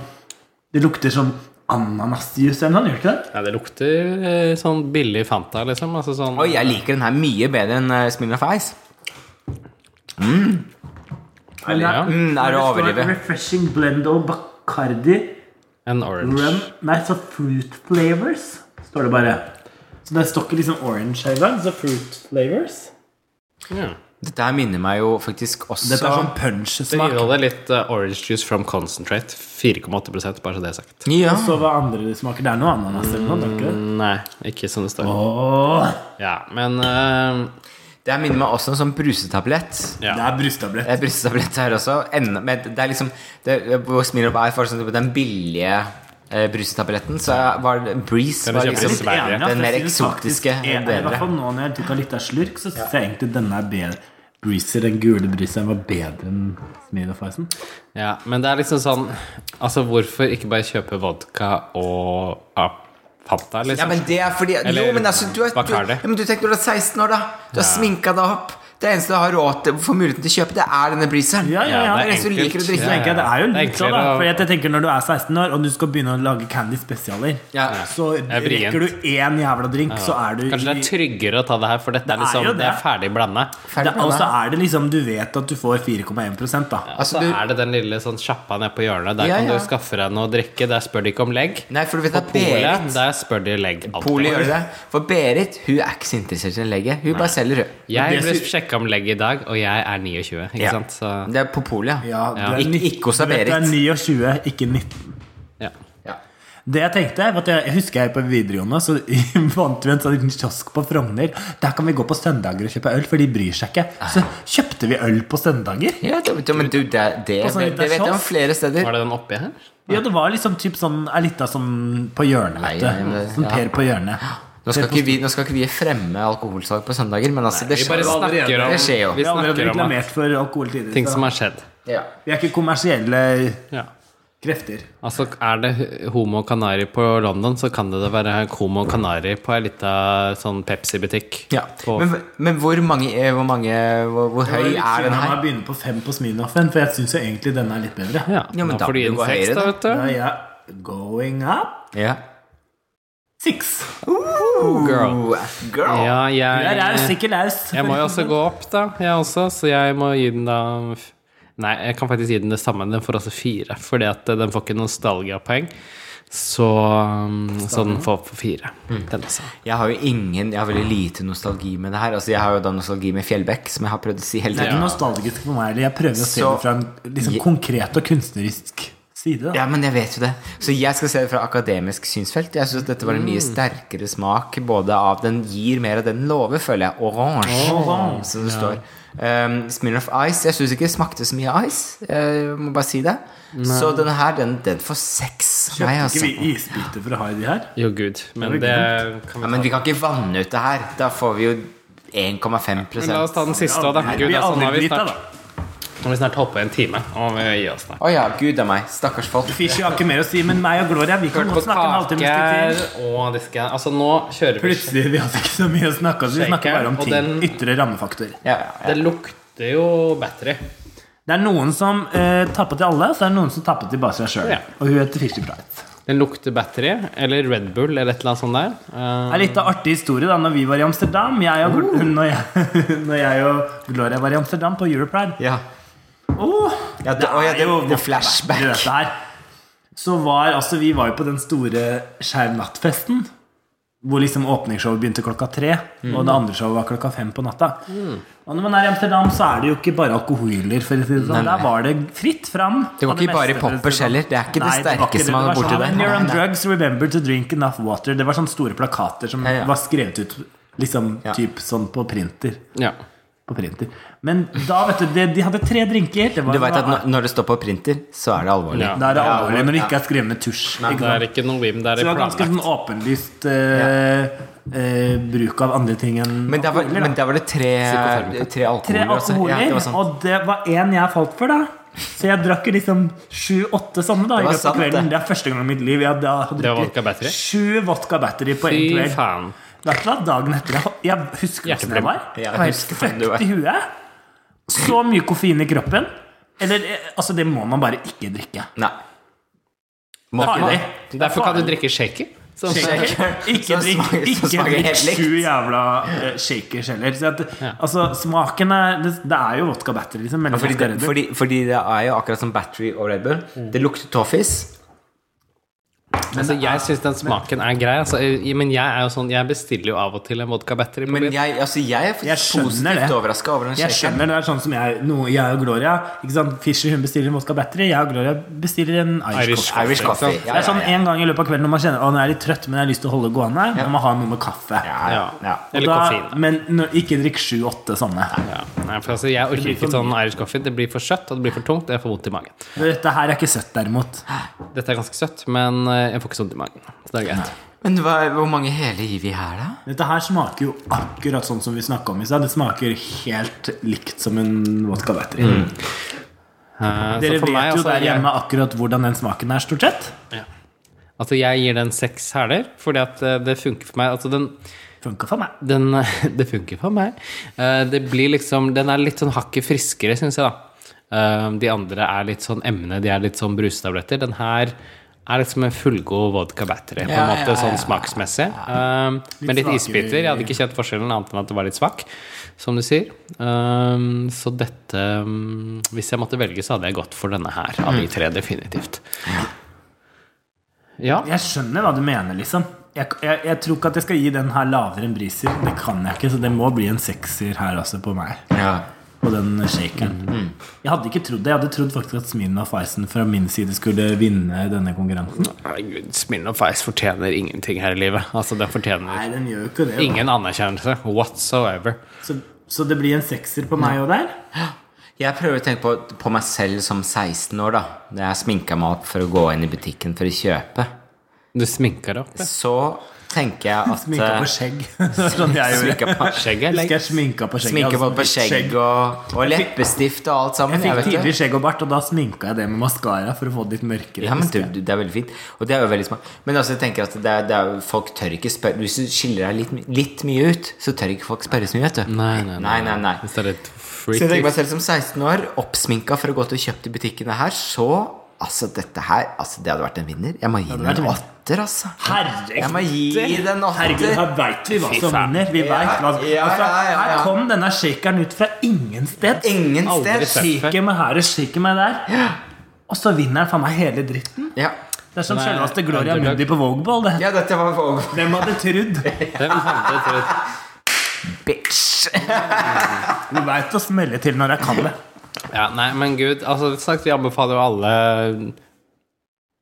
B: Det lukter sånn ananasjuice eller noe, gjør det ikke det?
A: Ja, det lukter eh, sånn billig Fanta, liksom. Altså sånn
C: Oi, jeg liker den her mye bedre enn uh, Smirnoff Ice.
B: Men
A: ja.
B: det
C: Mm, det
B: men det
C: er å
B: står
C: overdrive.
B: Refreshing blend of Bacardi
A: En orange.
B: rum Nei, så fruit flavors står det bare. Så det står ikke liksom orange her i dag, så fruit flavors.
A: Ja.
C: Dette her minner meg jo faktisk også
B: Dette er sånn
A: Det
B: punch-smak.
A: inneholder litt eh, orange juice from concentrate. 4,8 bare så det er sagt.
C: Ja.
B: Så hva andre det smaker? Det er noe ananas eller noe? det er ikke det?
A: Nei, ikke som det står.
B: Åh,
A: Ja, men eh,
C: Det her minner meg også om en sånn brusetablett.
A: Ja.
B: Det er brustablett.
C: Det er brustetablett her også. Enda, men det er liksom det, hvor Smirnoff Ice var sånn, den billige eh, brusetabletten, så var det Breeze
A: Kan du
C: var
A: kjøpe
C: liksom
A: litt Sverige.
B: Enig, ass.
C: Den
B: Jeg
C: mer
B: synes faktisk
C: eksotiske
B: jeg-
C: og
B: I hvert
C: bedre.
B: fall nå når jeg tok en liten slurk, så syns jeg egentlig denne er bedre. Breezer, den gule breezeren var bedre enn Smirnoff-isen.
A: Ja, men det er liksom sånn Altså, hvorfor ikke bare kjøpe vodka og ah, Fanta,
C: Ja,
A: liksom?
C: men det er fordi
A: Eller
C: Jo, men altså, du, er, du,
A: Bacardi.
C: ja, men du tenker når du er 16 år, da. Du har sminka deg opp. Det eneste du har råd til for muligheten til å kjøpe, det er denne breezeren.
B: Ja, ja, ja.
A: det er
C: Hvis du
A: enkelt.
C: liker å drikke,
A: Ja, ja.
B: tenker jeg det er jo
A: Det er
B: litt sånn,
A: enklere
B: da.
A: å-
B: For jeg tenker når du er 16 år og du skal begynne å lage candy spesialer,
C: Ja.
B: så
A: er vrient.
B: rekker du én jævla drink, så er du
A: Kanskje det
B: i-
A: er tryggere å ta det her, for dette
B: Det
A: er
B: er
A: liksom
B: jo
A: det. er
B: det.
A: ferdig blanda.
C: Ferdig
B: det,
C: med
B: Og så
C: det.
B: er det liksom Du vet at du får 4,1 da.
C: Altså,
A: så
C: du-
A: er det den lille sånn sjappa nede på hjørnet. Der
C: Ja,
A: kan
C: ja.
A: du skaffe deg noe å drikke. Der spør de ikke om legg.
C: Nei, for du vet at
A: På Polet,
C: Berit
A: der spør de legg. alltid.
C: Polet gjør det. For Berit hun er ikke så interessert i en legge. Hun bare selger rød.
A: Jeg
B: Men
A: ble
B: det
A: sjekka om legg i dag, og jeg er 29, ikke
C: Ja.
A: sant? Så
C: Det er på Polet,
B: Ja, du er
C: Ikke-
B: nitt-
C: ikke hos deg,
B: du vet, Du er
C: Berit.
B: 29, ikke 19.
A: ja.
C: Ja.
B: Det jeg tenkte var at jeg, jeg husker jeg på videregående Så [laughs] vant vi en sånn liten kiosk på Frogner Der kan vi gå på søndager og kjøpe øl For de bryr seg ikke Så kjøpte vi øl på søndager
C: Ja, det, det- men du, det, det,
B: Og så
C: det,
B: litt
C: det vet jeg om
B: kiosk.
C: flere steder.
A: Var sånn det den oppi her?
B: Ja, det var liksom typ sånn Er litt av sånn på hjørnet vet du.
C: Nei, nei, men-
B: Sånn
C: ja.
B: Per på hjørnet
C: Nå skal, ikke vi, nå skal ikke vi fremme alkoholsalg på søndager, men altså, det
A: Vi
C: skjer
A: bare
C: jo.
A: snakker om,
C: Det skjer jo.
A: vi
B: Vi har allerede
A: snakker om at
B: reklamert for alkohol tidligere
A: ting
B: så
A: som har skjedd.
C: Ja.
B: Vi er ikke kommersielle
A: Ja.
B: krefter
A: Altså, er det homo kanari på London, så kan det da være homo kanari på ei lita sånn Pepsi-butikk.
C: Ja.
A: På-
C: Men, men hvor mange, eh, hvor, mange hvor, hvor høy er den her?
B: Jeg begynner på fem på Sminoffen For jeg synes jo egentlig denne er litt bedre
A: ja,
C: Ja, men
A: da
C: da
A: får du
C: blir
A: gi den
C: det jo
A: seks,
C: høyere,
A: da,
C: da.
A: vet du.
B: Da er jeg going up
C: Ja.
B: Six
A: Girl.
C: Girl.
A: Ja,
B: Jeg er raus,
A: jeg
B: ikke laus
A: Jeg må jo også gå opp, da, jeg også, så jeg må gi den da f- Nei, jeg kan faktisk gi den det samme. Den får altså fire, fordi at den får ikke nostalgiapoeng. Så, um, så den får på fire, den også.
C: Jeg har jo ingen Jeg har veldig lite nostalgi med det her. Altså, jeg har jo da nostalgi med Fjellbekk, som jeg har prøvd å si hele
B: Det er
C: tiden.
B: ikke nostalgisk for meg. eller Jeg prøver å se
C: Så-
B: det fra en liksom,
C: Je-
B: konkret og kunstnerisk side. Da.
C: Ja, men jeg vet jo det. Så jeg skal se det fra akademisk synsfelt. Jeg syns dette var en
A: Mm.
C: mye sterkere smak, både av Den gir mer av det den lover, føler jeg. Oransje, som det står. Um, Smirnoff Ice. Jeg syns ikke det smakte så mye ice. Jeg må bare si det. Så den her, den, den får seks. av meg,
B: Kjøpte ikke
C: altså.
B: vi isbiter for å ha i de her?
A: Jo, gud. Men
B: Det
A: det
B: er
A: kan vi
C: Ja, men
A: ta.
C: vi kan ikke vanne ut det her. Da får vi jo 1,5
A: Men la oss ta den siste òg, da.
B: Nei,
A: Gud,
B: vi
A: altså, nå har
B: aldri
A: vi
B: drita,
A: snart,
B: da.
A: nå har vi snart holdt på en time, og vi gir oss snart.
C: Å ja, gud a meg. Stakkars folk.
B: Fishy har ikke mer å si, men meg og Gloria vi kan
A: Kjørt på
B: godt snakke en halvtime
A: kaker
B: til.
A: og diske Altså, nå kjører vi
B: Plutselig vi hadde ikke så mye å snakke om. så Vi snakker bare om
A: Og
B: ting.
A: den-
B: Ytre rammefaktor.
C: Ja, ja,
A: Det lukter jo battery.
B: Det er noen som eh, tapper til alle, så er det noen som tapper til bare seg sjøl.
A: Ja.
B: Og hun heter Fishy Bright.
A: Den lukter battery, eller Red Bull, eller et eller annet sånt der. Eh,
B: Det er litt av artig historie da Når vi var i Amsterdam jeg og,
A: Oh.
B: [laughs] når, jeg, når jeg og Gloria var i Amsterdam på Europride
C: Ja.
B: Åh,
C: Ja, det- å, ja, det- det er flashback.
B: dette her. Så var, altså vi var jo på den store skjermnattfesten Hvor liksom åpningsshowet begynte klokka tre Og
C: Mm.
B: det andre showet var klokka fem på natta Og når man er i Amsterdam så er det jo ikke bare alkoholer for å si det sånn. Der var det fritt fram
C: Det var
B: og
C: ikke bare
B: meste, for å si
C: poppers
B: sånn.
C: heller. Det er ikke det
B: Nei, var
C: sterkeste
B: ikke det.
C: man
B: Det
C: er
B: var
C: borti
B: sånn,
C: der.
B: When you're on
C: Nei, nei.
B: drugs, remember to drink enough water Det var sånne store plakater som
C: Ja, ja.
B: var skrevet ut Liksom
C: Ja.
B: typ sånn på printer
A: ja.
B: På printer Men da vet du, de, de hadde tre drinker det var,
C: Du vet at når- når det står på printer, så er det alvorlig.
A: Ja.
B: Da er det
C: Ja,
B: alvorlig når det ikke er skrevet med tusj ikke
A: Det
B: sant?
A: er ikke noe vim, det
B: Så
A: er
B: det var
A: planlagt.
B: ganske sånn åpenlyst eh, eh, Bruk av andre ting enn
C: Men der var,
B: alkoholer, da.
C: men der var det tre, tre alkoholer.
B: Tre
C: også. Ja,
B: alkoholer,
C: det var sånn- sant.
B: og det var én jeg falt for, da. Så jeg drakk jo liksom sju-åtte sånne da, i
C: Det var
B: løpet av
C: sant,
B: kvelden.
C: det.
B: Det er første gang i mitt liv jeg da har
A: Det var
B: drukket
A: vodka battery?
B: sju vodka battery på én
A: Fy
B: kveld.
A: faen.
B: Vet du hva, dagen etter Jeg, jeg husker hvordan jeg
A: Hjerteproblem.
B: var.
C: Ja, jeg
B: Jeg var helt
C: husker hvordan du var.
B: fucked i huet. Så mye koffein i kroppen. Eller, eh, altså, det må man bare ikke drikke.
C: Nei. Må ikke
B: Farlig.
C: det.
A: Derfor kan du drikke shaker. Som
B: Shaker. Ikke
C: Så
B: drikk
C: smaker- så
B: ikke
C: smaker
B: drikk
C: helt likt.
B: sju jævla eh, shakers heller. Så at, Altså, smaken er Det, det er jo vodka battery, liksom. mellom
C: Fordi
B: vodka
C: det,
B: Red Bull. Mm.
C: fordi, fordi det er jo akkurat som Battery og Red Bull. Det lukter toffis.
A: Altså, jeg syns den smaken er grei, altså, eh, men jeg er jo sånn Jeg bestiller jo av og til en vodka battery. på
C: Men
A: byen.
C: jeg, altså, jeg er
B: Jeg
C: faktisk
B: skjønner det.
C: positivt overraska over den
B: Jeg
C: shakeren.
B: skjønner det er sånn som jeg, no, jeg og Gloria ikke sant? Fisher hun bestiller en vodka battery, jeg og Gloria bestiller en Irish,
A: Irish
B: coffee.
C: Irish coffee.
B: Det er sånn en gang i løpet av kvelden når man kjenner Å, nå er jeg litt trøtt, men jeg har lyst til å holde gående.
C: Ja.
B: Når man har noe med kaffe.
C: Ja, ja,
A: Ja.
C: ja.
B: Og
A: Eller
B: da,
A: koffein. da.
B: men nå- ikke drikk sju-åtte sånne.
A: Ja. Nei, for altså, jeg orker ikke sånn Irish coffee. Det blir for søtt, og det blir for tungt, og jeg får vondt i magen.
B: Dette her er ikke søtt, derimot.
A: Dette er ganske søtt, men eh, jeg får ikke så vondt i magen. Så det er greit.
C: Men hva, hvor mange hele gir vi her, da?
B: Dette her smaker jo akkurat sånn som vi snakka om i stad. Det smaker helt likt som en vodka battery.
A: Eh, så
B: Dere
A: for
B: vet
A: meg,
B: jo
A: altså,
B: der
A: jeg-
B: hjemme akkurat hvordan den smaken er, stort sett.
A: Altså, jeg gir den seks hæler, fordi at eh, det funker for meg. Altså, den,
B: Funka for meg.
A: den [laughs] Det funker for meg. Eh, Det blir liksom Den er litt sånn hakket friskere, syns jeg, da. Eh, De andre er litt sånn emne, de er litt sånn brusetabletter. Den her er liksom en fullgod vodka battery, på en
C: Ja, ja,
A: måte,
C: ja,
A: sånn
C: ja.
A: smaksmessig. Eh, Men litt
B: svakere.
A: isbiter. Jeg hadde ikke kjent forskjellen, annet enn at det var litt svak, som du sier. Eh, Så dette mm, Hvis jeg måtte velge, så hadde jeg gått for denne her, av de
C: Mm.
A: tre, definitivt. Ja.
B: Jeg skjønner hva du mener, liksom. Jeg, jeg, jeg tror ikke at jeg skal gi den her lavere enn briser. Det kan jeg ikke, så det må bli en sekser her også på meg.
C: Ja.
B: På den shakeren.
C: Mm,
B: Jeg hadde ikke trodd det. Jeg hadde trodd faktisk at Smirnoff Icen fra min side skulle vinne denne konkurransen.
A: Herregud, Smirnoff Ice fortjener ingenting her i livet. Altså, den fortjener
B: Nei, den gjør jo ikke det. da.
A: ingen anerkjennelse whatsoever.
B: Så, så det blir en sekser på meg og der?
C: Jeg prøver å tenke på, på meg selv som 16 år, da. Da jeg sminka meg opp for å gå inn i butikken for å kjøpe.
A: Du sminker deg opp. ja.
C: Så tenker jeg at
B: Sminka på skjegg. [laughs] Det var sånn jeg gjorde.
C: Sminka på
A: Skjegget
C: skjegg.
A: er
B: Husker
A: lenge.
B: jeg sminka på skjegg.
C: Sminka
B: Jeg
C: på,
B: hadde
C: på
B: sånn
C: skjegg og, og leppestift og alt sammen.
B: Jeg fikk
C: vet det.
B: tidlig skjegg og bart, og da sminka jeg det med maskara for å få det litt mørkere.
C: Ja, men
B: husker
C: du,
B: jeg.
C: du, det er veldig fint. Og det er jo veldig smart. Men altså, jeg tenker at det er, det er, jo- folk tør ikke spørre Hvis du skiller deg litt, litt mye ut, så tør ikke folk spørre så mye, vet du.
A: Nei, nei, nei.
C: nei, nei.
A: Hvis det er litt
C: Så jeg tenker
A: freaky.
C: meg selv som 16 år, oppsminka for å gå til og kjøpe de butikkene her, så Altså, dette her Altså, det hadde vært en vinner. Jeg må gi den
B: vært en
C: en åtter, altså. Jeg må
B: Herregud,
C: gi den en
B: Herregud,
C: åtter.
B: her veit vi hva
A: Fy
B: som
A: faen.
B: vinner. Vi
C: Ja,
B: vet hva som-
C: ja,
B: altså,
C: ja, ja, ja.
B: Her kom denne shakeren ut fra ingen sted.
C: Ingen
A: Aldri
C: sted.
A: sett.
B: Shaker meg her og shaker meg der. Og så vinner han faen meg hele dritten.
C: Ja.
B: Det er som
A: Den er
B: selveste Gloria
A: underdog.
B: Mundi på Vogue-ball. Det.
C: ja, dette var vår
B: Hvem hadde trodd?
A: Hvem hadde trodd
C: bitch.
B: Vi veit å smelle til når jeg kan det.
A: Ja, nei, men gud, altså som sagt, vi anbefaler jo alle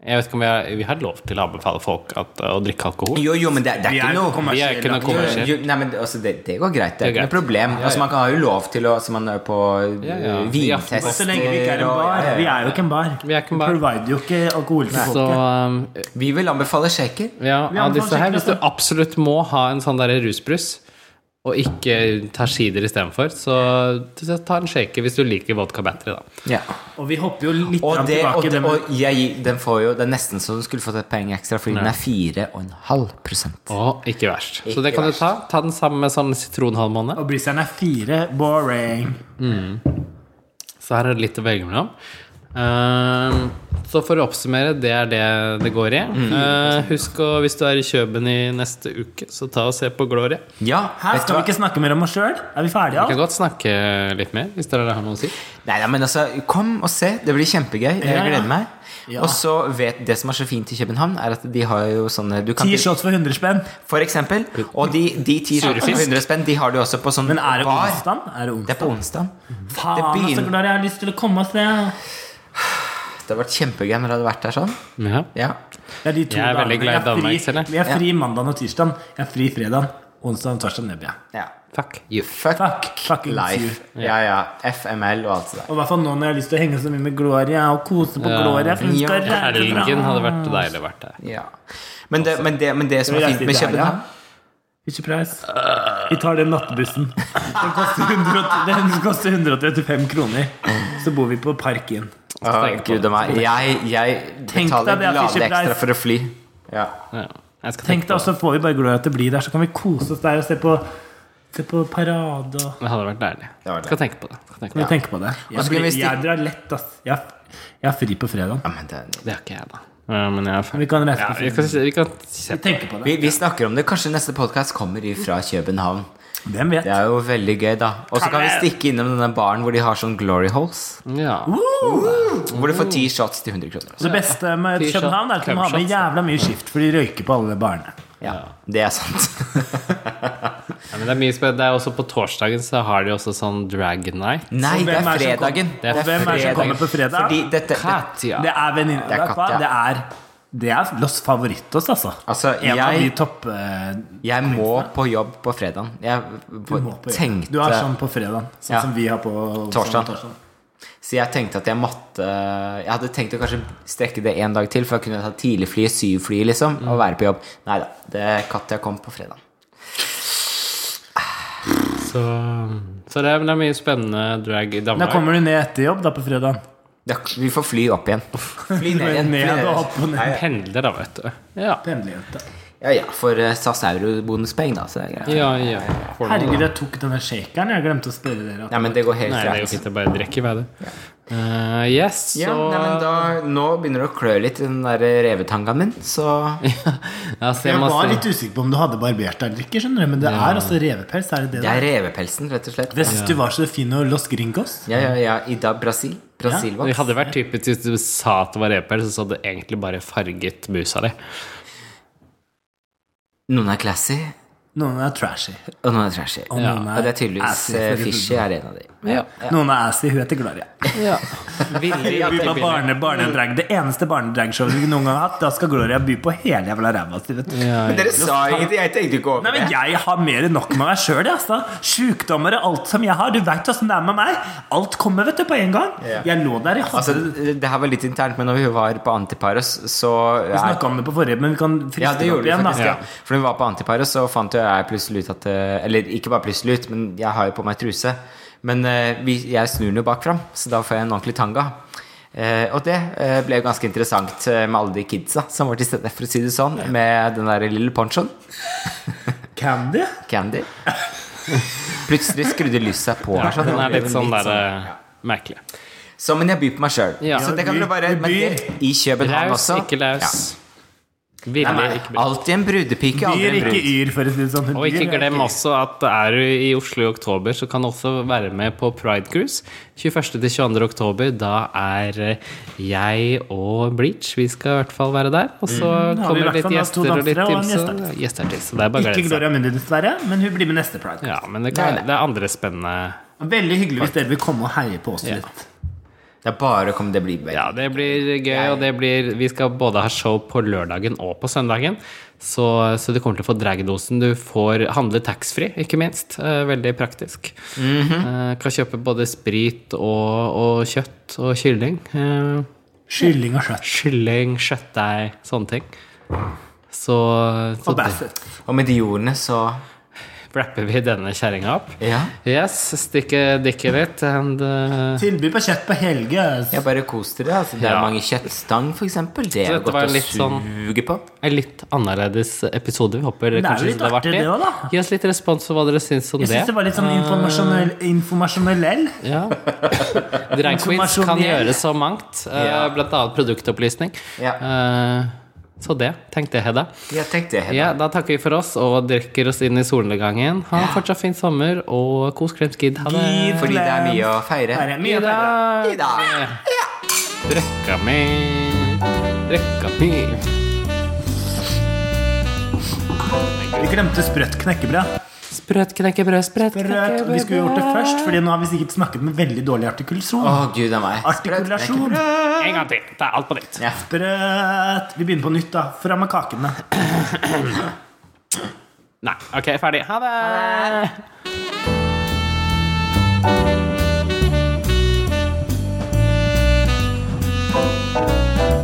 A: Jeg vet ikke om vi har, vi har lov til å anbefale folk at, å drikke alkohol.
C: Jo, jo, men det, det er
B: Vi
C: ikke
B: er
C: noe
A: Vi er ikke noe
C: Jo,
A: kommersielle.
C: jo, nei, men altså, det, det går greit. Det er
A: Det er
C: ikke noe
A: greit.
C: problem. Altså, man kan ha jo lov til å altså, Man er på
A: Ja, ja.
C: eh,
A: I
C: vintester
A: Aftenposten.
B: Så lenge vi ikke er en
C: og-
B: bar.
C: ja, ja,
B: Vi
C: ja.
B: er jo ikke en bar.
A: Vi er ikke en bar.
B: provider jo ikke alkohol til
A: Så
B: folket.
A: um,
C: Vi vil anbefale shaker.
A: ja, av disse her, hvis du absolutt må ha en sånn der rusbrus, og ikke tar sider istedenfor, så så ta en shaker hvis du liker vodka battery, da.
C: Ja.
B: Og vi hopper jo litt
C: Og,
B: fram
C: det, og,
B: tilbake.
C: det,
B: det med-
C: og jeg, gir- den får jo Det er nesten så du skulle fått et poeng ekstra, fordi den er 4,5
A: Og ikke verst. Så
C: Ikke
A: det kan du
C: verst.
A: ta. Ta den sammen med sånn sitronhalvmåne.
B: Og Blizzard er fire. Boring.
A: Så her er det litt å velge mellom. Eh, Ehm, så for å oppsummere, det er det det går i. Eh, husk å, hvis du er i Kjøben i neste uke, så ta og se på Gloria.
C: Ja,
B: Her
C: vet du
B: skal vi
C: hva?
B: ikke snakke mer om oss sjøl. Er vi ferdige?
A: Vi kan
B: alt?
A: godt snakke litt mer, hvis dere har noe å si.
C: Nei, nei, men altså, kom og se. Det blir kjempegøy. Jeg
B: Ja, ja.
C: gleder meg.
B: Ja.
C: Og så vet Det som er så fint i København, er at de har jo sånne du kan,
B: Ti shots for 100 spenn.
C: For eksempel. Og de de ti
A: Sure
C: shortsene for
A: fisk.
C: 100 spenn, de har du også på sånn
B: Men er det
C: bar.
B: onsdag? Er det
C: Det
B: onsdag?
C: er på onsdag.
B: Faen,
C: det begynner-
B: altså, Gloria, jeg har lyst til å komme og se.
C: Det hadde vært kjempegøy når det hadde vært der sånn.
A: Ja.
C: Ja.
B: Det er de to
A: Jeg er
B: dagene.
A: veldig glad i
B: Jeg er fri-
A: Danmark, selv jeg.
B: Jeg er fri mandag og tirsdag. Jeg er fri fredag. Onsdag og torsdag nebber jeg.
C: ja.
A: Fuck.
C: You fuck,
B: Fuck, fucking
C: life. Ja, ja. FML og alt det der.
B: Og i hvert fall nå når jeg har lyst til å henge så mye med Gloria og kose på
A: Ja.
B: Gloria. For hun
C: Ja.
B: skal reise
A: Helgen
B: fra
A: hadde vært deilig å vært der.
C: Ja. Men, det, men, det, men det som
B: Vi
C: er
B: reiser
C: fint med
B: til Italia.
C: København
B: Ikke preis. Vi tar den
C: [laughs]
B: nattbussen. Den koster, 100, den koster 135 kroner. Så bor vi på Park Inn.
C: Å, Gud og meg. Jeg, jeg
B: Tenk
C: betaler
B: deg det at
C: glade
B: Fisher
C: ekstra
B: Price-
C: for å fly. Ja.
A: Ja. Jeg skal tenke
B: Tenk deg også, får vi bare Gloria til å bli der, så kan vi kose oss der og se på, se på parade og
A: på det. Det hadde vært deilig.
C: Det var det.
A: Skal tenke på det. Skal tenke
B: Kan
A: på
B: vi
A: det.
B: tenke på det?
C: Og
B: Jeg,
C: så kan
B: blir,
C: vi
B: jeg drar lett, ass. Jeg, har- jeg har fri på fredag.
C: ja, men det
A: det har ikke jeg, da. Ja, Men jeg er ferdig.
B: Vi kan reise
A: Ja,
B: på
A: vi
B: fredag.
A: kan, vi kan se
B: Vi tenker på det.
C: Vi, vi snakker om det. Kanskje neste podkast kommer fra København.
B: Hvem vet?
C: Det er jo veldig gøy, da. Og så kan vi stikke innom denne baren hvor de har sånn glory holes.
A: Ja.
C: Hvor du får
B: Oh.
C: ti shots til 100 kroner. altså.
B: Det beste med
A: T-shirt,
B: København er at de har med
A: clubshot.
B: jævla mye skift, for de røyker på alle barene.
C: Ja, Det
B: [laughs]
C: er sant.
A: Ja, men det er mye spennende. Det er også på torsdagen så har de også sånn drag night.
C: Nei,
B: Så hvem er
C: det er
B: det som
C: fredagen.
B: kom- og hvem er det som kommer på fredag?
C: Fordi dette, det,
A: Katja.
B: Det er venninne
C: Det er
B: Vet du hva?
C: Katja.
B: Det er, det er Los Favoritos, altså.
C: Altså,
B: en av de
C: jeg,
B: topp... eh,
C: jeg må på jobb på fredagen. Jeg på,
B: må på-
C: tenkte
B: Du har sånn på fredag, sånn
C: Ja.
B: som vi har på
C: Torsdag.
B: sånn på torsdag.
C: Så jeg tenkte at jeg måtte Jeg hadde tenkt å kanskje strekke det en dag til, for jeg kunne ta tidligflyet, syvflyet, liksom,
B: Mm.
C: og være på jobb. Nei da. Det Katja kom på fredag.
A: Så, så det, er, det er mye spennende drag i
B: Da
A: Danmark.
B: kommer du ned etter jobb da på fredag.
C: Ja, Vi får fly opp igjen. [laughs] Fly ned igjen. fly
B: Ned
C: ned.
B: og opp og ned.
A: Pendler, da, vet du. Ja.
B: Pendlerjente.
C: Ja, ja, for eh, SAS er jo bonuspoeng, da. Så det er greit.
A: Ja, ja. Får du noe,
B: Herregud,
A: da?
B: jeg tok denne shakeren. Jeg glemte å spørre dere.
C: Nei, men det går helt
A: Nei, det er jo
C: greit.
A: fint å bare drikke i vei, det. Eh, yes, så
C: Ja, nei, men da, nå begynner det å klø litt i den der revetangaen min, så
A: [laughs] Ja, så jeg
B: Jeg
A: må
B: var
A: se-
B: litt usikker på om du hadde barbert deg eller ikke, skjønner du. Men det er altså revepels, er det
C: Det
B: det?
C: er revepelsen, rett og slett.
B: da? Hvis du var så fin og los gringos.
C: Ja, ja, ja. I da Brasil.
A: Det
C: Brasilvoks.
A: hadde vært typisk hvis du sa at det var repel, så hadde det egentlig bare farget musa di.
C: Noen er classy,
B: Noen er trashy.
C: og noen er trashy.
B: Og
A: Ja,
B: noen
C: Og det er tydeligvis
B: assy,
C: eh,
B: for å si det
C: Fishy er en av de.
A: Ja.
B: sånn. Noen er assy. Hun heter Gloria.
A: ja. Villig at
B: By på
A: det
B: barne, barnedrag. Det eneste barnedragshowet du noen gang har hatt, da skal Gloria by på hele jævla ræva si. vet du.
C: Men dere sa ingenting, jeg tenkte ikke
B: Nei,
C: over
B: men
C: det.
B: Jeg har mer enn nok med meg sjøl. Altså. Sjukdommer og alt som jeg har. Du veit åssen det er med meg. Alt kommer vet du, på en gang.
C: Ja.
B: Jeg lå der i
C: Altså,
B: halsen.
C: det her var litt internt, men når vi var på Antiparos, så
B: Vi snakka om det på forrige, men vi kan friste
C: Ja, det
B: det opp
C: gjorde vi
B: igjen.
C: faktisk.
B: Da.
C: Ja. For når vi var på Antiparos, så fant jo jeg plutselig ut at eh, Eller ikke bare plutselig ut, men jeg har jo på meg truse. Men eh, vi, jeg snur den jo bakfram, så da får jeg en ordentlig tanga. Eh, og det eh, ble jo ganske interessant eh, med alle de kidsa som var til stede, for å si det sånn, med den der lille ponchoen,
B: Candy?
C: Candy. Plutselig skrudde lyset seg på her. sånn.
A: Den er litt sånn der
C: sånn-
A: eh, merkelig.
C: Så, men jeg byr på meg sjøl.
A: Ja.
C: Så det kan
B: Ja,
C: dere bare
B: du
C: men
B: byr.
C: det- I København
A: Raus,
C: også.
A: ikke laus.
C: Nei,
A: Villig,
C: men
A: ikke brud.
C: Alltid en brudepike, aldri
B: Dyr, ikke
C: en brud.
B: yr, for å si det sånn.
A: Og ikke
B: Dyr er
A: glem
B: yr.
A: også at er du i Oslo i oktober, så kan du også være med på Pride Cruise. 21. til 22. oktober, da er eh, jeg og Bleach. Vi skal i hvert fall være der. Og så
B: Mm. vi i
A: kommer det
B: hvert
A: litt
B: fall da to
A: gjester og litt
B: dansere og en
A: tips. og Gjester til, så det er bare å
B: Ikke
A: glede seg.
B: Gloria Mundi, dessverre, men hun blir med neste Pride.
A: Ja, men det, kan,
C: Nei, nei.
A: det er andre spennende
B: Veldig hyggelig hvis dere vil komme og heie på oss litt.
C: Det er bare å komme det blir vekk.
A: Ja, det blir gøy, og det blir Vi skal både ha show på lørdagen og på søndagen. Så, så du kommer til å få dragdosen. Du får handle taxfree, ikke minst. Eh, Veldig praktisk. Eh, Kan kjøpe både sprit og, og kjøtt og kylling. Eh,
B: Kylling og kjøtt.
A: Kylling, kjøttdeig, sånne ting. Så, så
B: Og Bassett.
C: Og med de ordene så
A: wrapper vi denne kjerringa opp.
C: Ja.
A: Yes, stikke dikket litt, and uh,
B: Tilbud på kjøtt på helge.
C: Jeg bare koser dere. Altså, det er
A: Ja.
C: mange kjøttstang, for eksempel. Det
A: Så
C: er
A: dette
C: godt
A: var
C: å
A: en litt sånn-
C: suge på.
A: en litt annerledes episode. Vi håper
B: er jo
A: kanskje
B: litt
A: det var
B: artig
A: artig.
B: det også, da.
A: Gi oss litt respons på hva dere syns om
B: Jeg syns det var litt sånn informasjonell. informasjonell. [laughs]
A: Ja. Drag queens
B: Informasjon
A: kan
B: igjen.
A: gjøre så mangt, eh,
C: Ja.
A: blant annet produktopplysning.
C: Ja.
A: Eh, Så det tenkte jeg, Hedda.
C: Jeg tenkte jeg
A: Ja, da takker vi for oss og drikker oss inn i solnedgangen. Ha en fortsatt fin sommer, og kos klems gid. Ha det.
B: Gid.
C: Fordi det er mye å feire.
B: Her er mye
A: I
B: å feire.
A: dag.
C: I dag.
A: Drekka mi. Drekka mi.
B: Vi glemte sprøtt knekkebrød.
A: Sprøt knekkebrød, sprøt
B: Sprøt,
A: knekkebrød.
B: Vi skulle gjort det først, Fordi nå har vi sikkert snakket med veldig dårlig artikulasjon.
C: Å, gud a meg.
B: Artikulasjon.
A: En gang til. Ta alt på nytt.
C: Ja.
B: Sprøt. Vi begynner på nytt, da. Fram med kakene.
A: Nei, ok, ferdig. Ha det.